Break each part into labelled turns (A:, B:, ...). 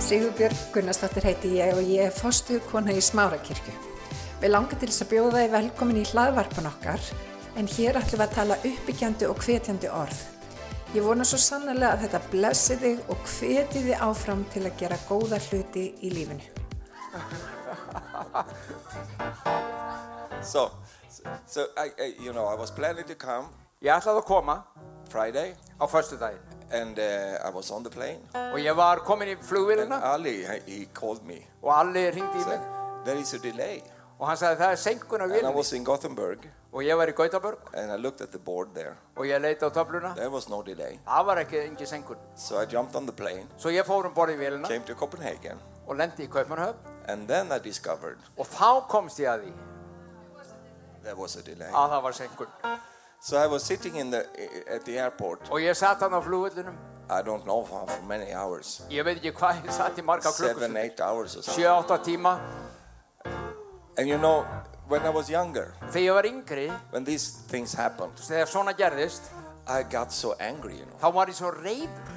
A: Sigurbjörg Gunnarsdóttir heiti ég og ég er fórstuðkona í Smárakirkju. Við langar til þess að bjóða þið velkomin í hlaðvarpan okkar, en hér ætlum við að tala uppbyggjandi og hvetjandi orð. Ég vona svo sannlega að þetta blessi þig og hveti þig áfram til að gera góða hluti í lífinu.
B: So, so I, I, you know, I was planning to come
C: Ég ætlaði að koma á
B: Friday,
C: föstudaginn
B: and uh, I was on the plane.
C: og ég var komin í
B: And
C: flugvélina
B: Ali, he called me.
C: og Alli ringdi í
B: Said,
C: mig
B: there is a delay.
C: og hann sagði það er senkun á
B: And I
C: vélinni
B: was in Gothenburg,
C: og ég var í Gautaborg
B: and I looked at the board there.
C: og ég leita á töfluna.
B: There was no delay.
C: Það var ekki engin senkun.
B: So I jumped on the plane,
C: Svo ég fór um borð í vélina
B: came to Copenhagen,
C: og lendi í Kaupmannhöfn
B: and then I discovered
C: og þá komst ég að því
B: there was a delay.
C: að það var senkun.
B: So I was sitting in the at the airport.
C: Og ég satt hann á flugvöldunum,
B: I don't know how for many hours,
C: ég veit ekki hvað ég satt í marga
B: seven,
C: klukkustundir,
B: eight hours or something.
C: 7-8 tíma.
B: And you know, when I was younger,
C: Þegar ég var yngri,
B: when these things happened,
C: þegar svona gerðist,
B: I got so angry. You know.
C: þá var ég svo reyður.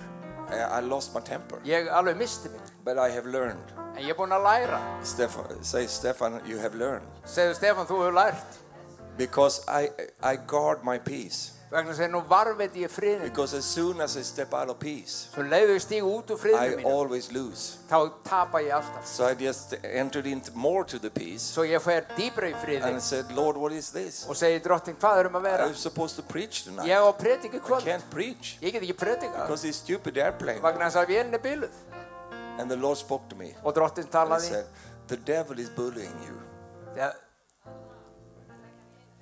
B: I I lost my temper.
C: Ég alveg misti mig.
B: But I have learned.
C: En ég er búinn að læra.
B: Stefan, say, Stefan, you have learned.
C: Segðu Stefan, þú hefur lært.
B: Because I, I guard my peace.
C: vegna þess að nú varveit ég friðin
B: Because as soon as I step out of peace,
C: svo leiðu ég stíg út úr
B: I
C: friðinu mínu
B: always lose.
C: þá tapa ég alltaf
B: So I just entered into more to the peace
C: svo ég fer dýbra í
B: and I
C: friðin
B: said, Lord, what is this?
C: og segi drottin hvað erum að vera
B: I'm supposed to preach tonight.
C: ég á prediki
B: I
C: kvöld
B: can't preach
C: ég get ekki predika
B: because this stupid airplane.
C: vegna þess að vélni biluð
B: And the Lord spoke to me.
C: og drottin
B: And he
C: talaði
B: said, The devil is bullying you.
C: ja,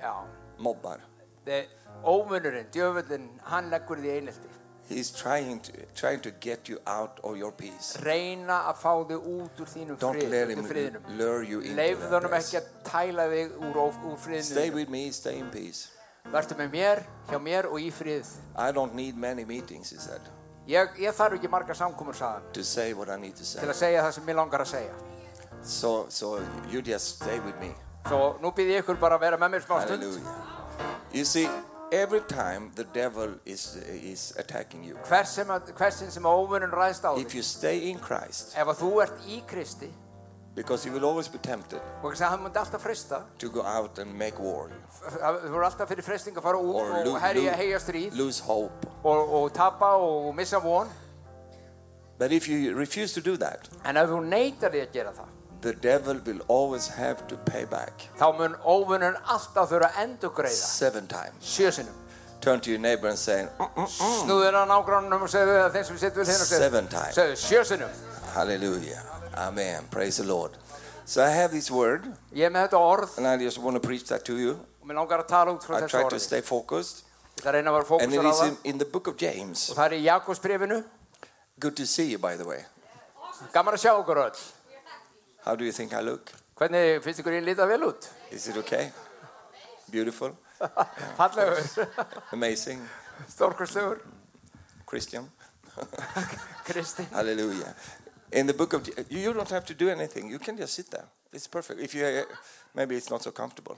C: já
B: Mobbar.
C: þe- ómunurinn, djöfullinn hann leggur því einelti
B: He's trying to, trying to get you out of your peace.
C: reyna að fá þig út úr þínum
B: Don't let
C: frið,
B: him
C: út úr friðinum
B: lure you into
C: leifðu
B: that
C: honum
B: place.
C: ekki að tæla þig úr, óf- úr
B: Stay
C: friðinu
B: with me, stay in peace.
C: verður með mér, hjá mér og í frið
B: I don't need many meetings, he said,
C: Ég, ég þarf ekki margar samkomur saðan
B: to say what I need to say.
C: til að segja það sem ég langar að segja.
B: So, so you just stay with me.
C: Svo nú býð ég ykkur bara að vera með mér smá stund.
B: Hallelujah. You see, every time the devil is, is attacking you,
C: Hvers sem að- Hversin sem óvunun ræðst á
B: if
C: þig,
B: you stay in Christ,
C: ef að þú ert í Kristi,
B: because you will always be tempted
C: og þess að hann myndi alltaf freista,
B: to go out and make war
C: f- að- þú er alltaf fyrir freisting að fara út
B: or lo-
C: og herja
B: lo-
C: heia stríð
B: lose hope.
C: og, og tapa og missa von,
B: But if you refuse to do that,
C: en ef þú neytar því að gera það,
B: the devil will always have to pay back
C: þá mun óvunun alltaf þurfa að endurgreiða
B: seven times.
C: sjö sinnum.
B: Turn to your neighbor and say, "Uh-uh."
C: Snúður að nágrannunum og segðu það þeim sem sittur við
B: Seven
C: þeim og
B: times.
C: segðu sjö sinnum.
B: Hallelujah. Amen. Praise the Lord. So I have this word,
C: Ég er með þetta orð
B: and I just want to preach that to you.
C: og mér langar að tala út frá
B: I
C: þessu
B: try to
C: orði.
B: stay focused.
C: Ég ætla að reyna að vera
B: And it
C: fókusur á
B: is
C: það
B: in, in the book of James.
C: og það er í Jakobsbrifinu.
B: Good to see you, by the way.
C: Gaman að sjá okkur öll.
B: How do you think I look?
C: Hvernig finnst ykkur ég lita vel út?
B: Is it okay? Beautiful?
C: Fallegur,
B: Amazing?
C: stórkurslegur,
B: Christian?
C: Kristi.
B: Hallelujah. In the book of Ja- you you don't have to do anything. You can just sit there. It's perfect. If you uh, maybe it's not so comfortable,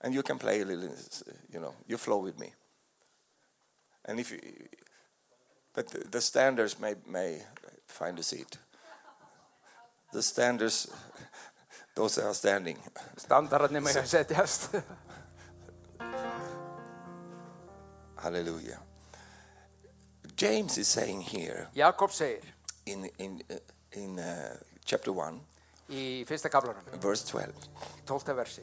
B: and you can play a little. uh, You know, you flow with me. And if you, but the- the standards may may find a seat. The standards, those that are standing,
C: Standararnir með að setjast.
B: Hallelujah. James is saying here
C: Jakob segir
B: in in uh, in uh, chapter one,
C: í fyrsta kaplanum,
B: verse twelve.
C: 12. versi.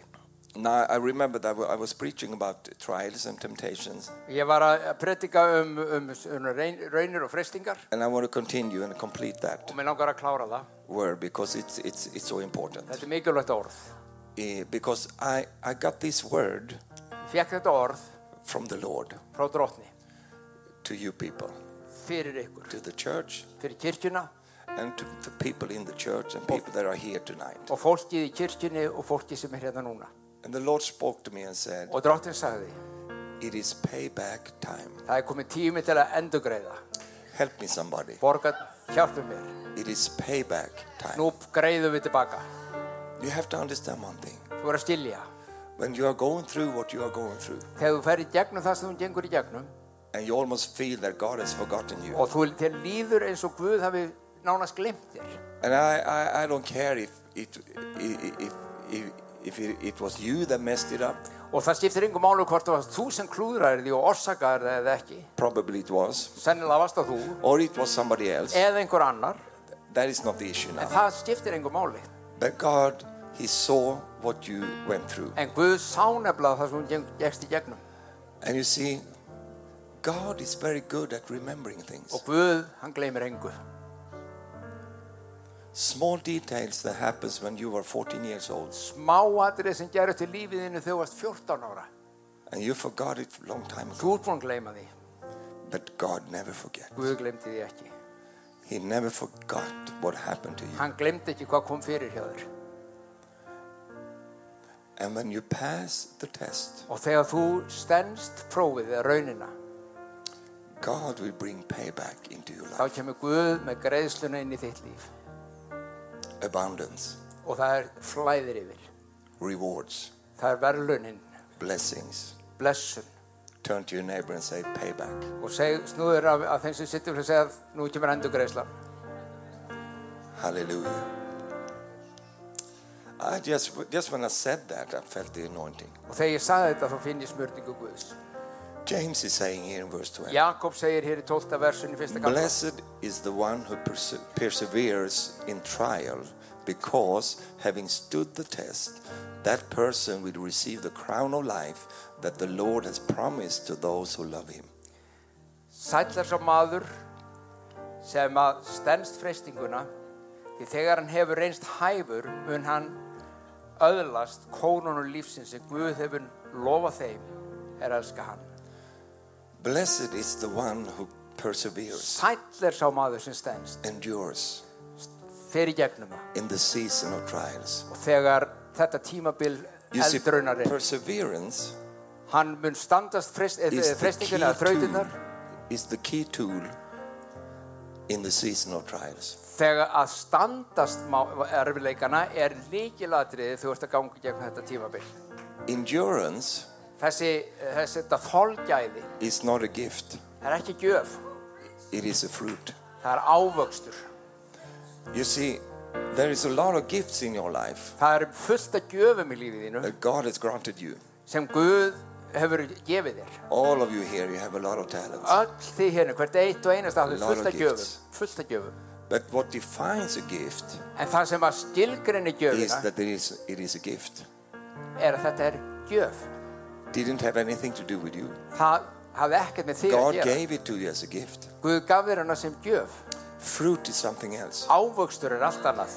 B: Now I remember that I was preaching about trials and temptations,
C: Ég var að predika um, um, um raun, raunir og freistingar
B: and I want to continue and complete that
C: og mér langar að klára það.
B: word because it's it's it's so important.
C: Þetta er mikilvægt orð.
B: Eh, Because I I got this word
C: Ég fekk þetta orð
B: from the Lord
C: frá drottni
B: to you people,
C: fyrir ykkur,
B: to the church,
C: fyrir kirkjuna
B: and to the people in the church and people that are here tonight.
C: og fólkið í kirkjunni og fólkið sem er hérna núna.
B: And the Lord spoke to me and said,
C: Og drottin sagði,
B: "It is payback time.
C: það er komið tími til að endugreiða.
B: Help me, somebody.
C: Borga, hjálpum mér.
B: It is payback time."
C: Nú greiðum við tilbaka.
B: You have to understand one thing.
C: Þú verður að skilja.
B: When you are going through what you are going through,
C: Þegar þú ferð í gegnum það sem þú gengur í gegnum
B: and you almost feel that God has forgotten you.
C: og þú, þér líður eins og Guð hafi nánast glemt þér.
B: And I, I, I don't care if it, if, if, if, if it, it was you that messed it up.
C: Og það skiptir yngur málu hvort það var þú sem klúðraðir því og orsakaðir það eða ekki.
B: Probably it was.
C: Sennilega varst það þú
B: Or it was somebody else.
C: eða einhver annar.
B: That is not the issue
C: En
B: now.
C: það skiptir yngur máli.
B: But God, He saw what you went through.
C: En Guð sá nefnilega það sem hún geng- gekkst í gegnum.
B: And you see, God is very good at remembering things.
C: Og Guð, hann gleymir engu.
B: Small details that happens when you were 14 years old
C: Smáatrið sem gerur til lífiðinu þegar þú varst 14 ára.
B: and you forgot it a long time ago.
C: Þú ert búin að gleyma því.
B: But God never forgets.
C: Guð gleymdi því ekki.
B: He never forgot what happened to you.
C: Hann gleymdi ekki hvað kom fyrir hjá þér.
B: And when you pass the test,
C: Og þegar þú stendst prófið eða raunina,
B: God will bring payback into your
C: þá
B: life.
C: kemur Guð með greiðsluna inn í þitt líf.
B: Abundance,
C: Og það er flæðir yfir.
B: rewards,
C: Það er verðlunin,
B: blessings.
C: blessun.
B: Turn to your neighbor and say, payback.
C: Og seg, snúður af, af þeim sem sittur og segja nú kemur endur greiðslan.
B: Hallelujah. I just, just when I said that, I felt the anointing.
C: Og þegar ég sagði þetta þá finn ég smörningu Guðs.
B: James is saying here in verse 12.
C: Jakob segir hér í 12. versunni fyrsta kalla.
B: Blessed is the one who perse- perseveres in trial, because having stood the test, that person will receive the crown of life that the Lord has promised to those who love him.
C: Sætlar sá maður sem að stendst freystinguna því þegar hann hefur reynst hæfur mun hann öðlast kónunum lífsins sem Guð hefur lofað þeim er að elska hann.
B: Blessed is the one who perseveres,
C: Sætlar sá maður sem stendst
B: endures
C: fer í gegnum það
B: in the season of trials.
C: og þegar þetta tímabil
B: You see,
C: eldrunarinn
B: perseverance
C: hann mun standast eh, frest,
B: is the, key
C: freystinguna eða
B: tool,
C: þrautinnar
B: is the key tool in the season of trials.
C: Þegar að standast má- erfiðleikana er líkilatriðið þú ert að ganga gegn þetta tímabil.
B: Endurance
C: Þessi, þessi þetta þolgæði,
B: is not a gift,
C: það er ekki gjöf,
B: it is a fruit.
C: það er ávöxtur.
B: You see, there is a lot of gifts in your life
C: Það er fullt af gjöfum í lífið þínu
B: that God has granted you.
C: sem Guð hefur gefið þér.
B: All of you here, you have a lot of talents.
C: Öll því hérna, hvert eitt og einast að
B: Lot
C: það er fullt
B: of
C: af gjöfum,
B: gifts.
C: fullt af gjöfum.
B: But what defines a gift
C: En það sem að skilgrinni
B: is
C: gjöfina
B: that it is, it is a gift.
C: er að þetta er gjöf.
B: Didn't have anything to do with you.
C: Það hafði ekkert með því að
B: God
C: gera.
B: gave it to you as a gift.
C: Guð gaf þér hana sem gjöf.
B: Fruit is something else.
C: Ávöxtur er allt annað.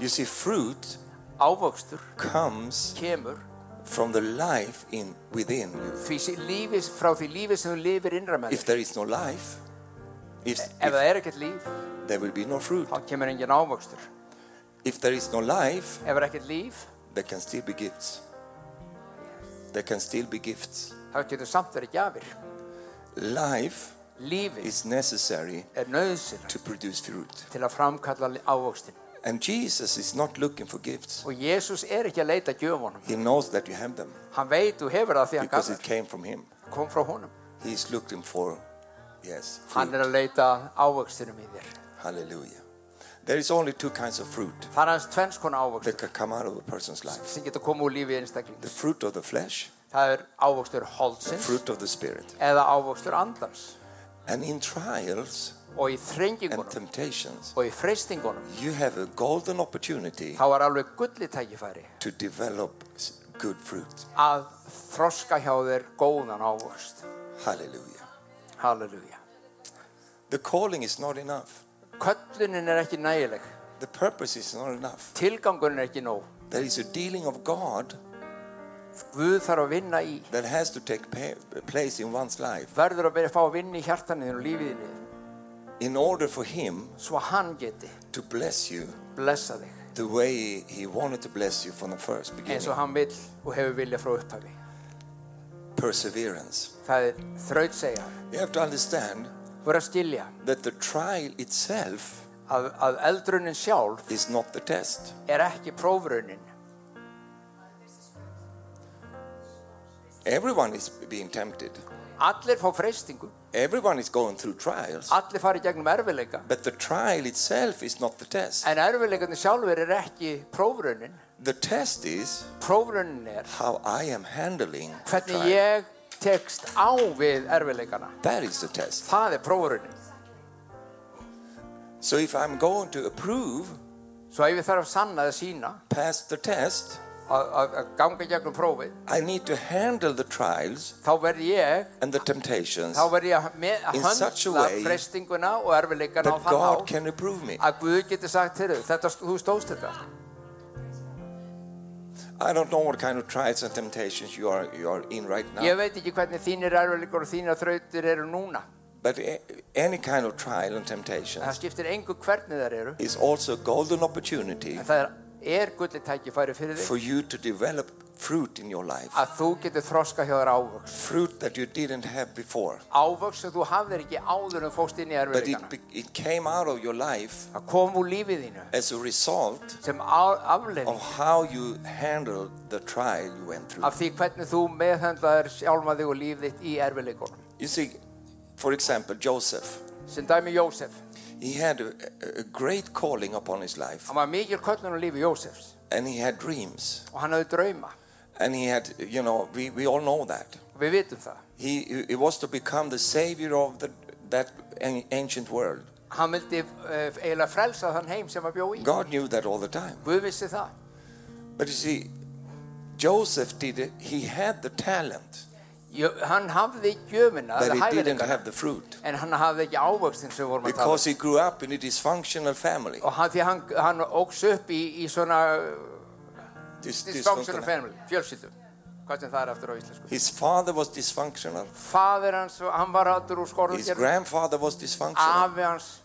B: You see, fruit
C: Ávöxtur
B: comes
C: kemur
B: from the life in within you.
C: því sí- lífi, frá því lífi sem þú lifir innra með
B: If
C: þér.
B: there is no life, if,
C: Ef
B: if
C: það er ekkert líf,
B: there will be no fruit.
C: þá kemur engin ávöxtur.
B: If there is no life,
C: Ef það er ekkert líf,
B: there can still be gifts. There can still be gifts.
C: þá getur samt verið gjafir.
B: Life
C: Lífið
B: is necessary
C: er nöðsynlegt
B: to produce fruit.
C: til að framkalla li- ávöxtin.
B: And Jesus is not looking for gifts.
C: Og Jésús er ekki að leita gjöfunum.
B: He knows that you have them
C: Hann veit og hefur það því hann gaf
B: because it
C: þér.
B: came from Him.
C: kom frá honum.
B: He's looking for, yes,
C: Hann
B: fruit.
C: er að leita ávöxtinum í þér.
B: Hallelujah. There is only two kinds of fruit
C: Það er hans tvenns konar ávöxtur
B: that can come out of a person's life
C: sem getur komið úr lífi
B: the
C: einstaklings.
B: fruit of the flesh,
C: Það er ávöxtur
B: the
C: holdsins
B: fruit of the spirit.
C: eða ávöxtur andans.
B: And in trials
C: Og í
B: and
C: þrengingunum
B: temptations,
C: og í freystingunum
B: you have a golden opportunity
C: þá er alveg gulli tækifæri
B: to develop s- good fruit.
C: að þroska hjá þér góðan ávöxt.
B: Hallelujah.
C: Halleluja.
B: The calling is not enough,
C: Köllunin er ekki nægileg.
B: the purpose is not enough.
C: Tilgangun er ekki nóg.
B: There is a dealing of God
C: Guð þarf að vinna í.
B: that has to take pa- place in one's life
C: Verður að byrja að fá að vinna í hjartanin og lífiðinni
B: in order for Him
C: svo hann geti
B: to bless you
C: blessa þig
B: the way He wanted to bless you from the first
C: eins
B: beginning.
C: og hann vill og hefur vilja frá upphafi.
B: Perseverance.
C: Það er þrautseigja.
B: You have to understand
C: Þú er að skilja
B: that the trial itself
C: að, að eldrunin sjálf
B: is not the test.
C: er ekki prófrunin.
B: Everyone is being tempted.
C: Allir fá freystingu,
B: Everyone is going through trials,
C: allir fara í gegnum erfileika.
B: but the trial itself is not the test.
C: En erfileikarnir sjálfur er ekki prófraunin.
B: The test is
C: Prófraunin er
B: how I am handling the
C: hvernig
B: trial.
C: ég tekst á við erfileikana.
B: That is the test.
C: Það er prófraunin.
B: So if I'm going to approve
C: Svo ef ég þarf að sanna eða sína
B: pass the test,
C: að, að, að ganga í gegnum prófið,
B: I need to handle the trials
C: þá verð ég,
B: and the temptations
C: þá verð ég að me- að
B: In such a
C: höndla
B: way
C: freystinguna og erfileikana á
B: that
C: þann
B: God
C: hátt
B: can approve me.
C: að Guð getur sagt til þau, þetta, þú stóðst þetta.
B: I don't know what kind of trials and temptations you are you are in right now,
C: Ég veit ekki hvernig þínir erfileikar og þínar þrautir eru núna.
B: but a- any kind of trial and
C: En það
B: temptations
C: skiptir engu hvernig þær eru.
B: is also a golden opportunity
C: En það er, er gullið tækifæri fyrir
B: for
C: þig
B: you to develop fruit in your life,
C: að þú getur þroska hjá þér ávöxt.
B: fruit that you didn't have before,
C: Ávöxt sem þú hafðir ekki áður en þú fóst inn í
B: but it
C: erfileikana.
B: be, it came out of your life
C: Það kom úr lífið þínu
B: as a result
C: sem afleðing
B: of how you handled the trial you went through.
C: af því hvernig þú meðhendlaðir sjálfa þig og líf þitt í erfileikunum.
B: You see, for example, Joseph,
C: Sem dæmi Jósef.
B: he had a, a- a great calling upon his life,
C: Hann var mikil köllun á lífi Jósefs
B: and he had dreams,
C: og hann hafði drauma.
B: and he had, you know, we, we all know that.
C: Við vitum það.
B: He, he- he was to become the savior of the, that an- ancient world.
C: Hann vildi uh, eiginlega frelsa þann heim sem hann bjó í.
B: God knew that all the time.
C: Guð vissi það.
B: But you see, Joseph did it, he had the talent,
C: Jö, hann hafði gjöfina,
B: but
C: eða
B: he didn't
C: hæfileikana,
B: have the fruit
C: en hann hafði ekki ávöxtin sem við vorum að tala
B: because he grew up in a dysfunctional family.
C: um. Og hann, því hann, hann óks upp í, í svona eh,
B: Dys-
C: dysfunctional
B: dysfunctional.
C: family, fjölskyldum. Hvað sem það er aftur á íslensku.
B: His father was dysfunctional,
C: Fadir hans, hann var aftur úr skorðum
B: his grandfather was dysfunctional.
C: Afi hans,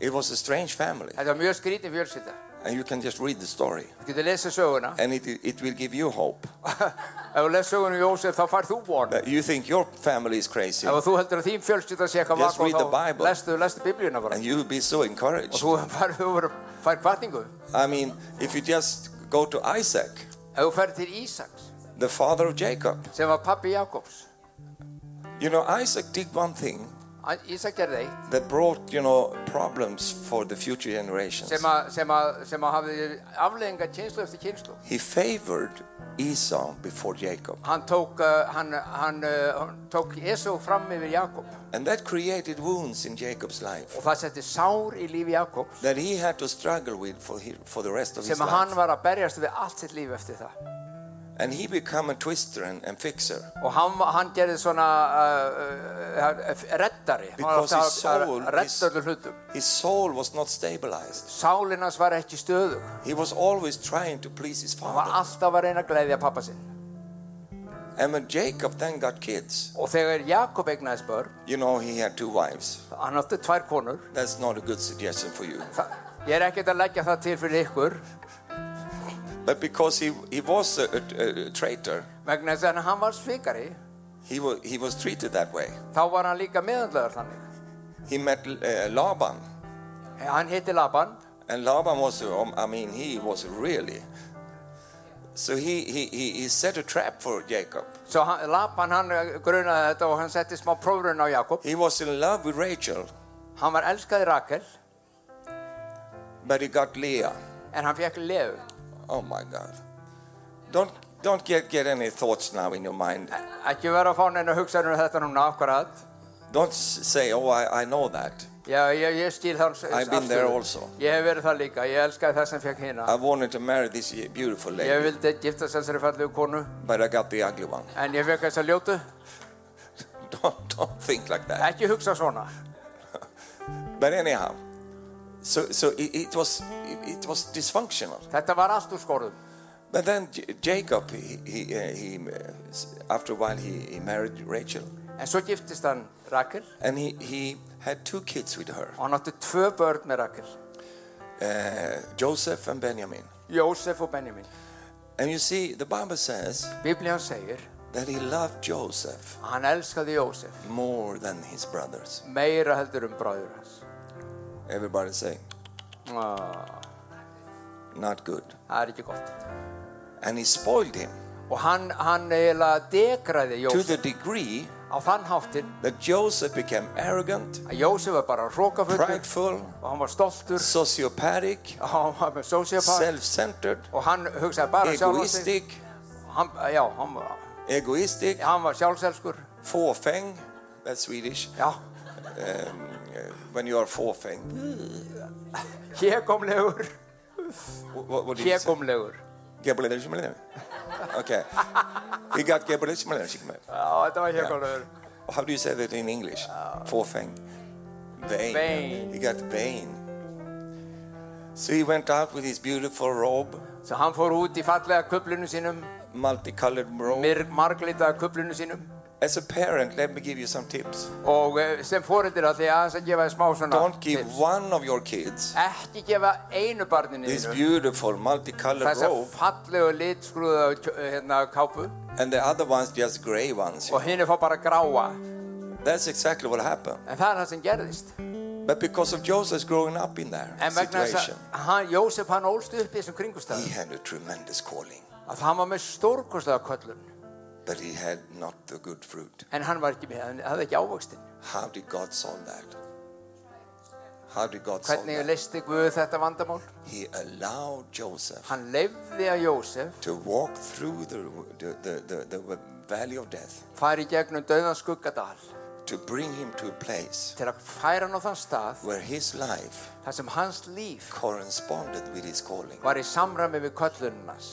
B: It was a strange family,
C: þetta var mjög skrítin fjölskylda.
B: and you can just read the story,
C: Þú getur lesið söguna.
B: and it, it will give you hope.
C: Ef þú lesið söguna um Jósef, þá fær þú von.
B: That you think your family is crazy,
C: Ef þú heldur að þín fjölskylda sé eitthvað
B: Just read the
C: vaka,
B: Bible.
C: þá lestu, lestu biblíuna bara.
B: and you will be so
C: Og
B: encouraged.
C: þú fær, þú verður- fær kvartingu.
B: I mean, if you just go to Isaac,
C: Ef þú fær til Ísaks,
B: the father of Jacob,
C: sem var pappi Jakobs.
B: you know, Isaac did one thing
C: Hann- Ísak gerði eitt.
B: that brought, you know, problems for the future generations.
C: sem að, sem að, sem að hafði afleðinga kynslu eftir kynslu.
B: He favored Esau before Jacob,
C: Hann tók, uh, hann, hann, uh, hann tók Esau fram yfir Jakob
B: and that created wounds in Jacob's life
C: og það setti sár í lífi Jakobs
B: that he had to struggle with for, he, for the rest of his
C: sem að hann
B: life.
C: var að berjast við allt sitt líf eftir það.
B: And he became a twister and, and fixer.
C: Og hann, hann gerði svona uh, uh, reddari, hann var
B: Because his
C: alltaf að-
B: soul
C: að redda
B: is-
C: öllu hlutum.
B: His soul was not stabilized.
C: Sálin hans var ekki stöðug,
B: He was always trying to please his
C: hann var
B: father.
C: alltaf að reyna að gleðja pappa sinn.
B: And when Jacob then got kids,
C: Og þegar Jakob eignaðist börn,
B: you know, he had two wives.
C: hann átti tvær konur,
B: That's not a good suggestion for you.
C: Þa, ég er ekkert að leggja það til fyrir ykkur,
B: But because he, he was a, a, a traitor,
C: vegna þess að hann var svikari,
B: he was, he was treated that way.
C: þá var hann líka meðanlegar þannig.
B: He met uh, Laban.
C: Hann hitti Laban
B: And Laban was, um, I mean, he was really. So he, he, he, he set a trap for Jacob.
C: svo hann, Laban hann eh, grunaði þetta og hann setti smá prófrun á Jakob
B: He was in love with Rachel,
C: hann var elskaði Rakel
B: but he got Leah.
C: en hann fekk Leu
B: Oh my God. Don't, don't get, get any thoughts now in your mind.
C: ekki vera að fá neina hugsanur um þetta núna akkurat
B: Don't s- say, oh, I, I know that.
C: já, ég, ég skil þann
B: I've been there also.
C: ég hef verið það líka, ég elskaði það sem fekk hina
B: I wanted to marry this beautiful lady,
C: ég vildi gifta þessari fallegu konu
B: but I got the ugly one.
C: en ég fekk þessa ljótu
B: Don't, don't think like that.
C: ekki hugsa svona
B: But anyhow, so, so it, it, was, it, it was dysfunctional.
C: þetta var allt úr skorðum
B: But then J- Jacob, he, he, uh, he, uh, s- after a while, he, he married Rachel.
C: en svo giftist hann Rakel
B: And he, he had two kids with her,
C: og hann átti tvö börn með Rakel
B: uh, Joseph and Benjamin.
C: Jósef og Benjamin
B: And you see, the Bible says
C: Biblían segir
B: that he loved Joseph
C: að hann elskaði Jósef
B: more than his brothers.
C: meira heldur um bræður hans
B: Everybody say,
C: Ah,
B: not good.
C: það er ekki gott
B: And he spoiled him.
C: og hann, hann eiginlega degraði
B: to
C: Jósef
B: the degree
C: á þann háttinn
B: that Joseph became arrogant,
C: að Jósef var bara hrókafullur
B: prideful,
C: og hann var stoltur
B: sociopathic,
C: og hann var með sociopath
B: self centered,
C: og hann hugsaði bara sjálf sig
B: egoistic,
C: hann, já, hann, var-
B: egoistic,
C: hann var sjálfselskur
B: fåfäng, that's Swedish,
C: já,
B: um, uh, when you are fåfäng.
C: hégómlegur
B: What, what did you say?
C: hégómlegur
B: Gebelishmalim. Okay. He got Gebelishmalim.
C: já, þetta var hégómlegur
B: How do you say that in English? Fåfäng. Vain.
C: Vain.
B: He got vain. So he went out with his beautiful robe,
C: svo hann fór út í fallega kuplinu sínum
B: multicolored robe.
C: myrk marglitaða kuplinu sínum
B: As a parent, let me give you some tips.
C: og eh, sem fóreldra því að þess að gefa þér smá svona
B: Don't give
C: tips.
B: one of your kids
C: ekki gefa einu barninu
B: this
C: þínu
B: beautiful multicolored
C: þessa
B: robe
C: fallegu litskruða hérna, kápu
B: and the other ones just gray ones.
C: og hinn er fá bara gráa
B: That's exactly what happened.
C: en það er það sem gerðist
B: But because of Joseph's growing up in that
C: en vegna þess
B: situation,
C: að hann, Jósef hann ólst upp í þessum
B: he
C: kringustæðum
B: had a tremendous calling,
C: að hann var með stórkostlega köllun
B: but he had not the good fruit.
C: en hann var ekki með, hann hafði ekki ávöxtin
B: How did God solve that? How did God solve
C: hvernig
B: that?
C: listi Guð þetta vandamál
B: He allowed Joseph
C: hann leifði að Jósef
B: to walk through the, the, the, the, the valley of death
C: fari í gegnum döðan skuggadal
B: to bring him to a place
C: til að færa hann á þann stað
B: where his life
C: þar sem hans líf
B: corresponded with his calling.
C: var í samræmi við köllunarnas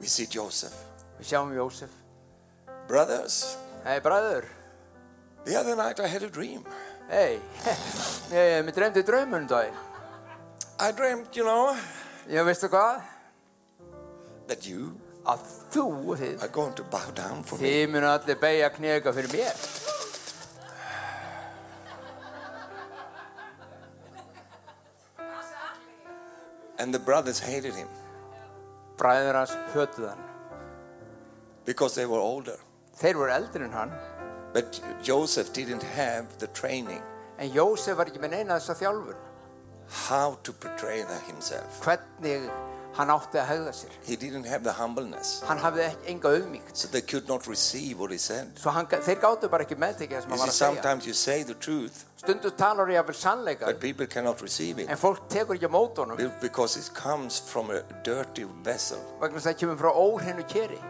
B: We see Joseph.
C: við sjáum Jósef
B: Brothers,
C: hei bræður
B: the other night I had a dream.
C: hei, hei, mér drefndi draumun um daginn
B: I dreamt, you know,
C: já veistu hvað
B: that you
C: að þú og þið
B: are going to bow down for me.
C: þið munu allir beigja knega fyrir mér
B: And the brothers hated him
C: bræður hans hötuð hann
B: because they were older.
C: þeir voru eldri en hann
B: But Joseph didn't have the training
C: en Jósef var ekki með neina þessa þjálfur
B: how to portray that himself.
C: hvernig hann átti að hegða sér
B: He didn't have the humbleness.
C: hann hafði ekki enga auðmíkt
B: So they could not receive what he said.
C: svo hann, þeir gáttu bara ekki meðtekið það sem
B: You
C: hann
B: see,
C: var að segja
B: sometimes you say the truth,
C: stundu talar ég að vel sannleika
B: but people cannot receive it
C: en fólk tekur ekki á mót honum
B: Be- because it comes from a dirty vessel.
C: vegna þess að það kemur frá óhreinu keri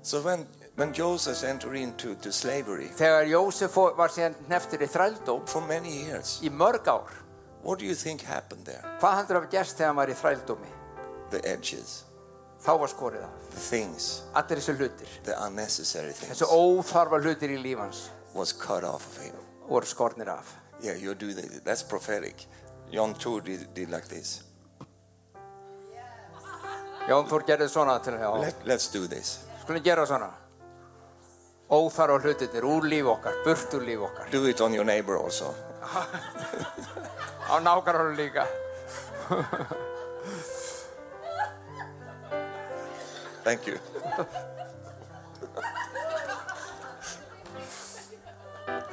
B: So when, when Joseph entered into to slavery
C: þegar Jósef fór- var síðan neftur í þrældóm
B: for many years,
C: í mörg ár
B: what do you think happened there?
C: hvað heldur að gerst þegar hann var í þrældómi
B: The edges,
C: þá var skorið af
B: the things,
C: allir þessu hlutir
B: the unnecessary things
C: þessu óþarfa hlutir í lífans
B: was cut off of him.
C: voru skornir af
B: Yeah, you do that. That's prophetic. John 2 did, did like this.
C: Jón Þór gerði svona til að
B: Let, let's do this.
C: skulum gera svona óþarfa hlutirnir úr líf okkar burt úr líf okkar
B: Do it on your neighbor also.
C: á nákvæmlega líka
B: Thank you.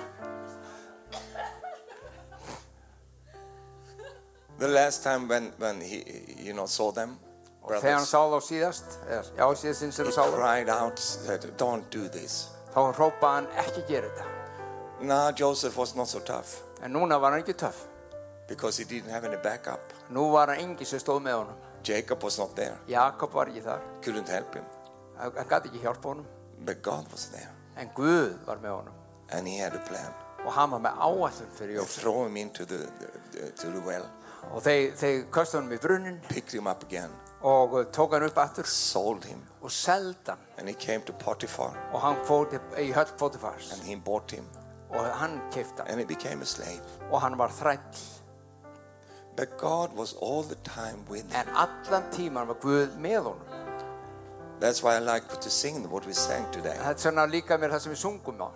B: the last time when, when he, he, you know, saw them,
C: þegar hann
B: brothers,
C: sá þá síðast eða- já síðast sinn sem
B: he
C: hann sá þá
B: cried out, said, don't do this.
C: þá hrópaði hann ekki gera þetta
B: Now Joseph was not so tough
C: en núna var hann ekki töff
B: because he didn't have any backup.
C: nú var hann engi sem stóð með honum
B: Jacob was not there,
C: Jakob var ekki þar
B: couldn't help him,
C: hann hann gæti ekki hjálpa honum
B: but God was there
C: en Guð var með honum
B: and he had a plan.
C: og hann var með áallum fyrir
B: They
C: Jósef
B: throw him into the, the, the to the well,
C: og þeir, þeir köstu honum í brunnin
B: picked him up again,
C: og eh, tók hann upp aftur
B: sold him,
C: og seldi hann
B: and he came to Potiphar.
C: og hann fór til, í höll fótifars
B: and he bought him
C: og hann keifta hann
B: and he became a slave
C: og hann var þræll
B: but god was all the time with him
C: en allan tíman var Guð með honum
B: that's why i like to sing what we sang today
C: þetta er svona líka mér það sem við sungum á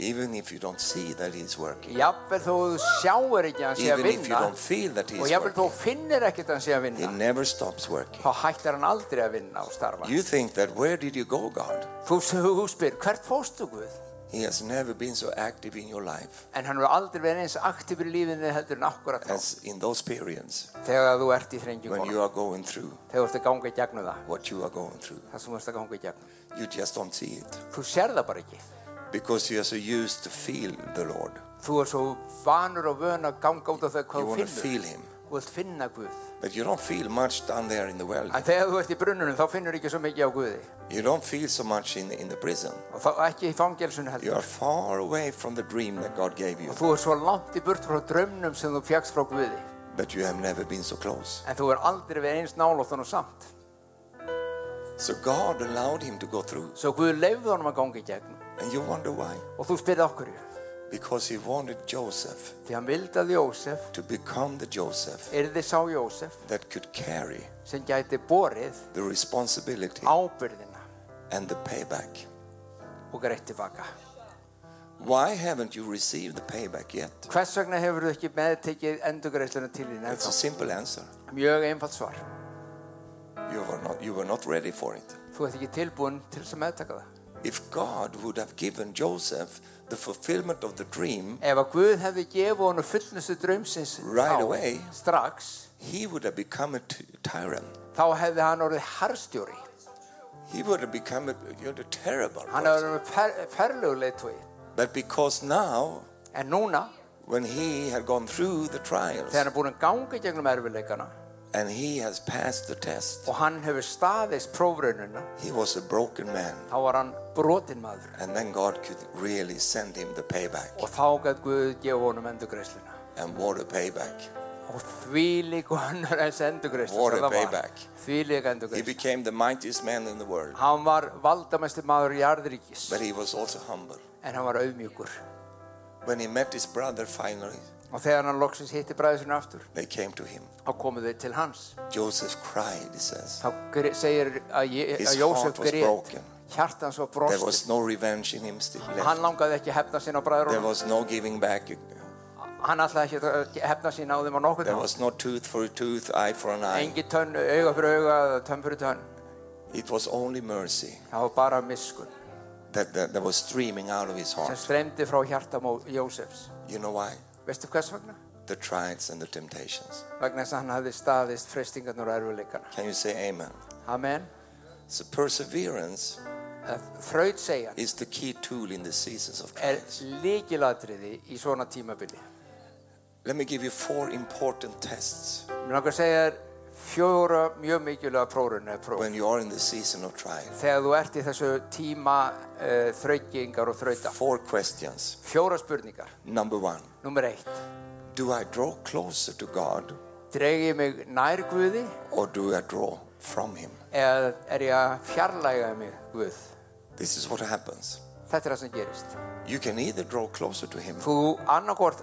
B: even if you don't see that he's working
C: jafnvel þó þú sjáur ekki að hann sé að
B: even if you
C: vinna
B: don't feel that
C: og
B: he's
C: jafnvel þó
B: working
C: finnir ekkert að hann sé að
B: he
C: vinna
B: never stops working
C: þá hættir hann aldrei að vinna og starfa
B: you think that where did you go god
C: þú, þú spyr, hvert fóstu Guð?
B: He has never been so active in your life
C: en hann hefur aldrei verið eins aktífur í lífinu heldur en akkurat þá
B: as in those periods
C: þegar þú ert í
B: when
C: þrengingunum
B: you are going through
C: þegar þú ert að ganga í gegnum það
B: what you are going through.
C: það sem þú ert að ganga í gegnum
B: You just don't see it
C: þú sér það bara ekki
B: because you are so used to feel the Lord.
C: þú er svo vanur og vön að ganga út af þau
B: You
C: hvað
B: want
C: þú
B: to
C: finnur
B: feel Him,
C: þú vilt finna Guð
B: but you don't feel much down there in the well.
C: en þegar þú ert í brunnunum þá finnur ekki svo mikið á Guði
B: You don't feel so much in in the prison.
C: og þá ekki í fangelsunum
B: You
C: heldur
B: are far away from the dream that God gave you,
C: og þú er svo langt í burt frá draumnum sem þú fjagst frá Guði
B: but you have never been so close.
C: en þú er aldrei verið eins nálóttan og samt
B: So God allowed him to go through,
C: svo Guð leifði honum að ganga í gegnum
B: and you wonder why?
C: og þú spyrði okkur
B: Because he wanted Joseph
C: því hann vildi að Jósef
B: to become the Joseph
C: yrði sá Jósef
B: that could carry
C: sem gæti borið
B: the responsibility
C: ábyrðina
B: and the payback.
C: og greitt tilbaka
B: Why haven't you received the payback yet?
C: hvers vegna hefur þú ekki meðtekið endurgreisluna til
B: It's
C: þín
B: a
C: ennþá
B: simple answer.
C: mjög einfalt svar
B: You were not, you were not ready for it.
C: þú ert ekki tilbúin til þess að meðtaka það
B: If God would have given Joseph the fulfillment of the dream,
C: ef að Guð hefði gefið honum fullnustu draumsins
B: Right
C: þá,
B: away.
C: strax
B: he would have become a ty- tyrant.
C: þá hefði hann orðið harstjóri
B: He would have become a, you know, a terrible
C: hann hefði
B: person.
C: orðið fer, ferlegu leitói
B: But because now,
C: en núna
B: when he had gone through the trials
C: þegar hann er búin að ganga í gegnum erfiðleikana
B: and he has passed the test,
C: og hann hefur staðist prófraununa
B: he was a broken man.
C: þá var hann brotin maður
B: And then God could really send him the payback.
C: og þá gæti Guð gefa honum endurgreisluna
B: And what a payback.
C: og því lík og hann er eins
B: What a
C: endurgreist
B: payback.
C: því lík
B: He
C: endurgreist
B: became the mightiest man in the world.
C: hann var valdamesti maður í jarðríkis
B: But he was also humble.
C: en hann var auðmjúkur
B: When he met his brother finally,
C: og þegar hann loksins hitti bræðisinn aftur
B: they came to him.
C: þá komu þau til hans
B: Joseph cried, he says.
C: þá gre- segir að, Je-
B: His
C: að Jósef
B: heart was
C: grét
B: broken.
C: hjarta hans var
B: There
C: brostið
B: was no revenge in him still
C: hann
B: left.
C: langaði ekki að hefna sín á bræður
B: There was no giving back.
C: hann ætlaði ekki að hefna sín á þeim á nokkuð
B: There was no tooth for a tooth, eye for an eye.
C: engi tönn, auga fyrir auga eða tönn fyrir tönn
B: It was only mercy
C: það var bara miskun
B: that, that, that was streaming out of his
C: sem
B: heart.
C: streymdi frá hjarta Mó- Jósefs
B: You know why?
C: veistu hvers vegna?
B: The trials and the temptations.
C: vegna þess að hann hafði staðist freystingarnar og erfuleikana
B: Can you say amen?
C: amen
B: So perseverance
C: þraut segja
B: is the key tool in the seasons of
C: er
B: trials.
C: líkilatriði í svona tímabili
B: Let me give you four important tests
C: mér langar að segja þér fjóra mjög mikilvæga prórun eða próf
B: when you are in the season of trial.
C: þegar þú ert í þessu tíma uh, þrautingar og þrauta
B: Four questions.
C: fjóra spurningar,
B: Number one,
C: nummer eitt
B: do I draw closer to God
C: dreg ég mig nær Guði
B: or do I draw from Him?
C: eða er ég að fjarlæga mig Guð
B: This is what happens.
C: þetta er það sem gerist
B: You can either draw closer to Him
C: þú annarkort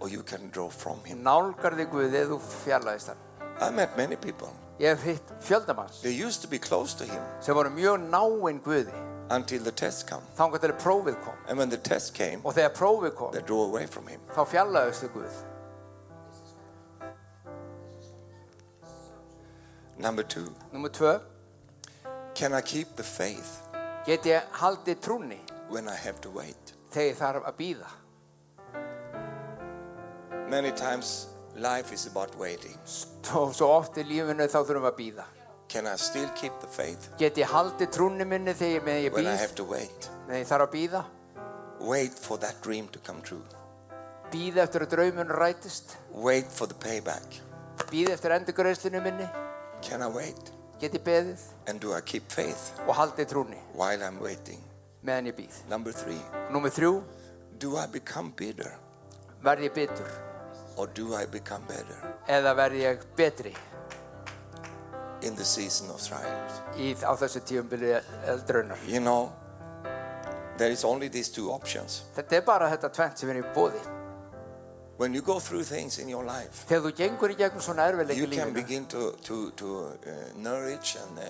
B: or you can draw from Him.
C: nálgar þig Guði eða þú fjarlægist hann
B: I met many people.
C: ég hef hitt fjöldamanns
B: They used to be close to Him
C: sem voru mjög náinn Guði
B: until the test come.
C: þangar til að prófið kom
B: And when the test came,
C: og þegar prófið kom
B: they drew away from Him.
C: þá fjarlægist þú Guð
B: Number two,
C: nummer tvö
B: can I keep the faith
C: get ég haldið trúni
B: when I have to wait?
C: þegar ég þarf að býða
B: Many times life is about waiting.
C: og svo oft í lífinu þá þurfum við að býða
B: Can I still keep the faith
C: get ég haldið trúni minni þegar ég, meðan ég
B: when I
C: býð
B: have to wait?
C: þegar ég þarf að býða
B: Wait for that dream to come true.
C: býða eftir að draumun rætist
B: Wait for the payback.
C: býða eftir endurgreiðslinu minni
B: Can I wait?
C: get ég beðið
B: And do I keep faith
C: og haldið trúni
B: while I'm waiting?
C: meðan ég býð
B: Number three,
C: nummer þrjú
B: do I become bitter
C: verð ég bitur
B: or do I become better
C: eða verð ég betri
B: in the season of trials?
C: í, á þessu tíumbili eldraunar
B: You know, there is only these two options.
C: þetta er bara þetta tvent sem er í bóði
B: When you go through things in your life,
C: þegar þú gengur í gegnum svona erfiðleik
B: you
C: í
B: can
C: lífinu
B: begin to, to, to uh, nourish and uh,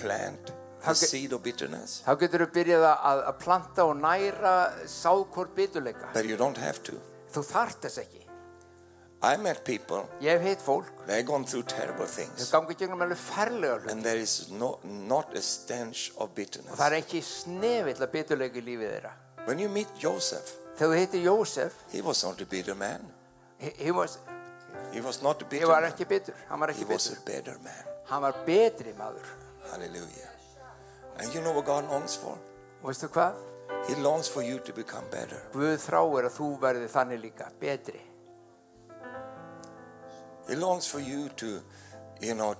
B: plant the
C: Okay.
B: seed of bitterness,
C: þá getur þú byrjað að, að planta og næra sákor biturleika
B: but you don't have to.
C: þú þarft þess ekki
B: I met people,
C: ég hef hitt fólk
B: they've gone through terrible
C: þau
B: things,
C: gangi í gegnum alveg ferlega hlut
B: and there is no, not a stench of bitterness.
C: það er ekki snefill að biturleika í lífið þeirra
B: When you meet Joseph,
C: Þegar þú hittir Jósef,
B: he was not a bitter man.
C: he, he was,
B: He was not a
C: he
B: bitter
C: var
B: man.
C: ekki bitur, hann var
B: He
C: ekki
B: was
C: bitur.
B: a better man.
C: Hann var betri maður.
B: Hallelujah. And you know what God longs for?
C: Og veistu hvað?
B: He longs for you to become better.
C: Guð þráir að þú verði þannig líka, betri.
B: He longs for you to, you know,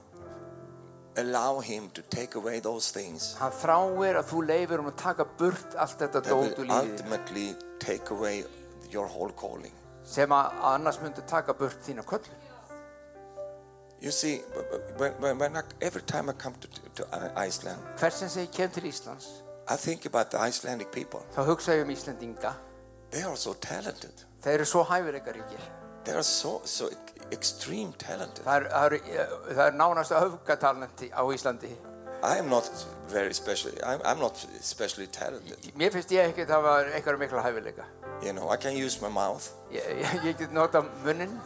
B: allow Him to take away those things
C: Hann þráir að þú leifir um að taka burt allt þetta
B: that
C: dót úr
B: will
C: lífið þínu,
B: ultimately take away your whole calling.
C: sem að annars myndu taka burt þína köllum.
B: You see, b- b- when, when, when I, every time I come to, to I- Iceland,
C: Hversin sem ég kem til Íslands,
B: I think about the Icelandic people.
C: þá hugsa ég um Íslendinga.
B: They are so talented.
C: Þeir eru svo hæfileikaríkir.
B: They are so so extreme talented.
C: Það eru- það eru það eru nánast öfgatalenti á Íslandi.
B: I am not very special. I'm, I'm not especially talented.
C: Mér finnst ég ekki að það var einhverja mikla hæfileika.
B: You know, I can use my mouth,
C: Ég, ég, ég get nota munnin,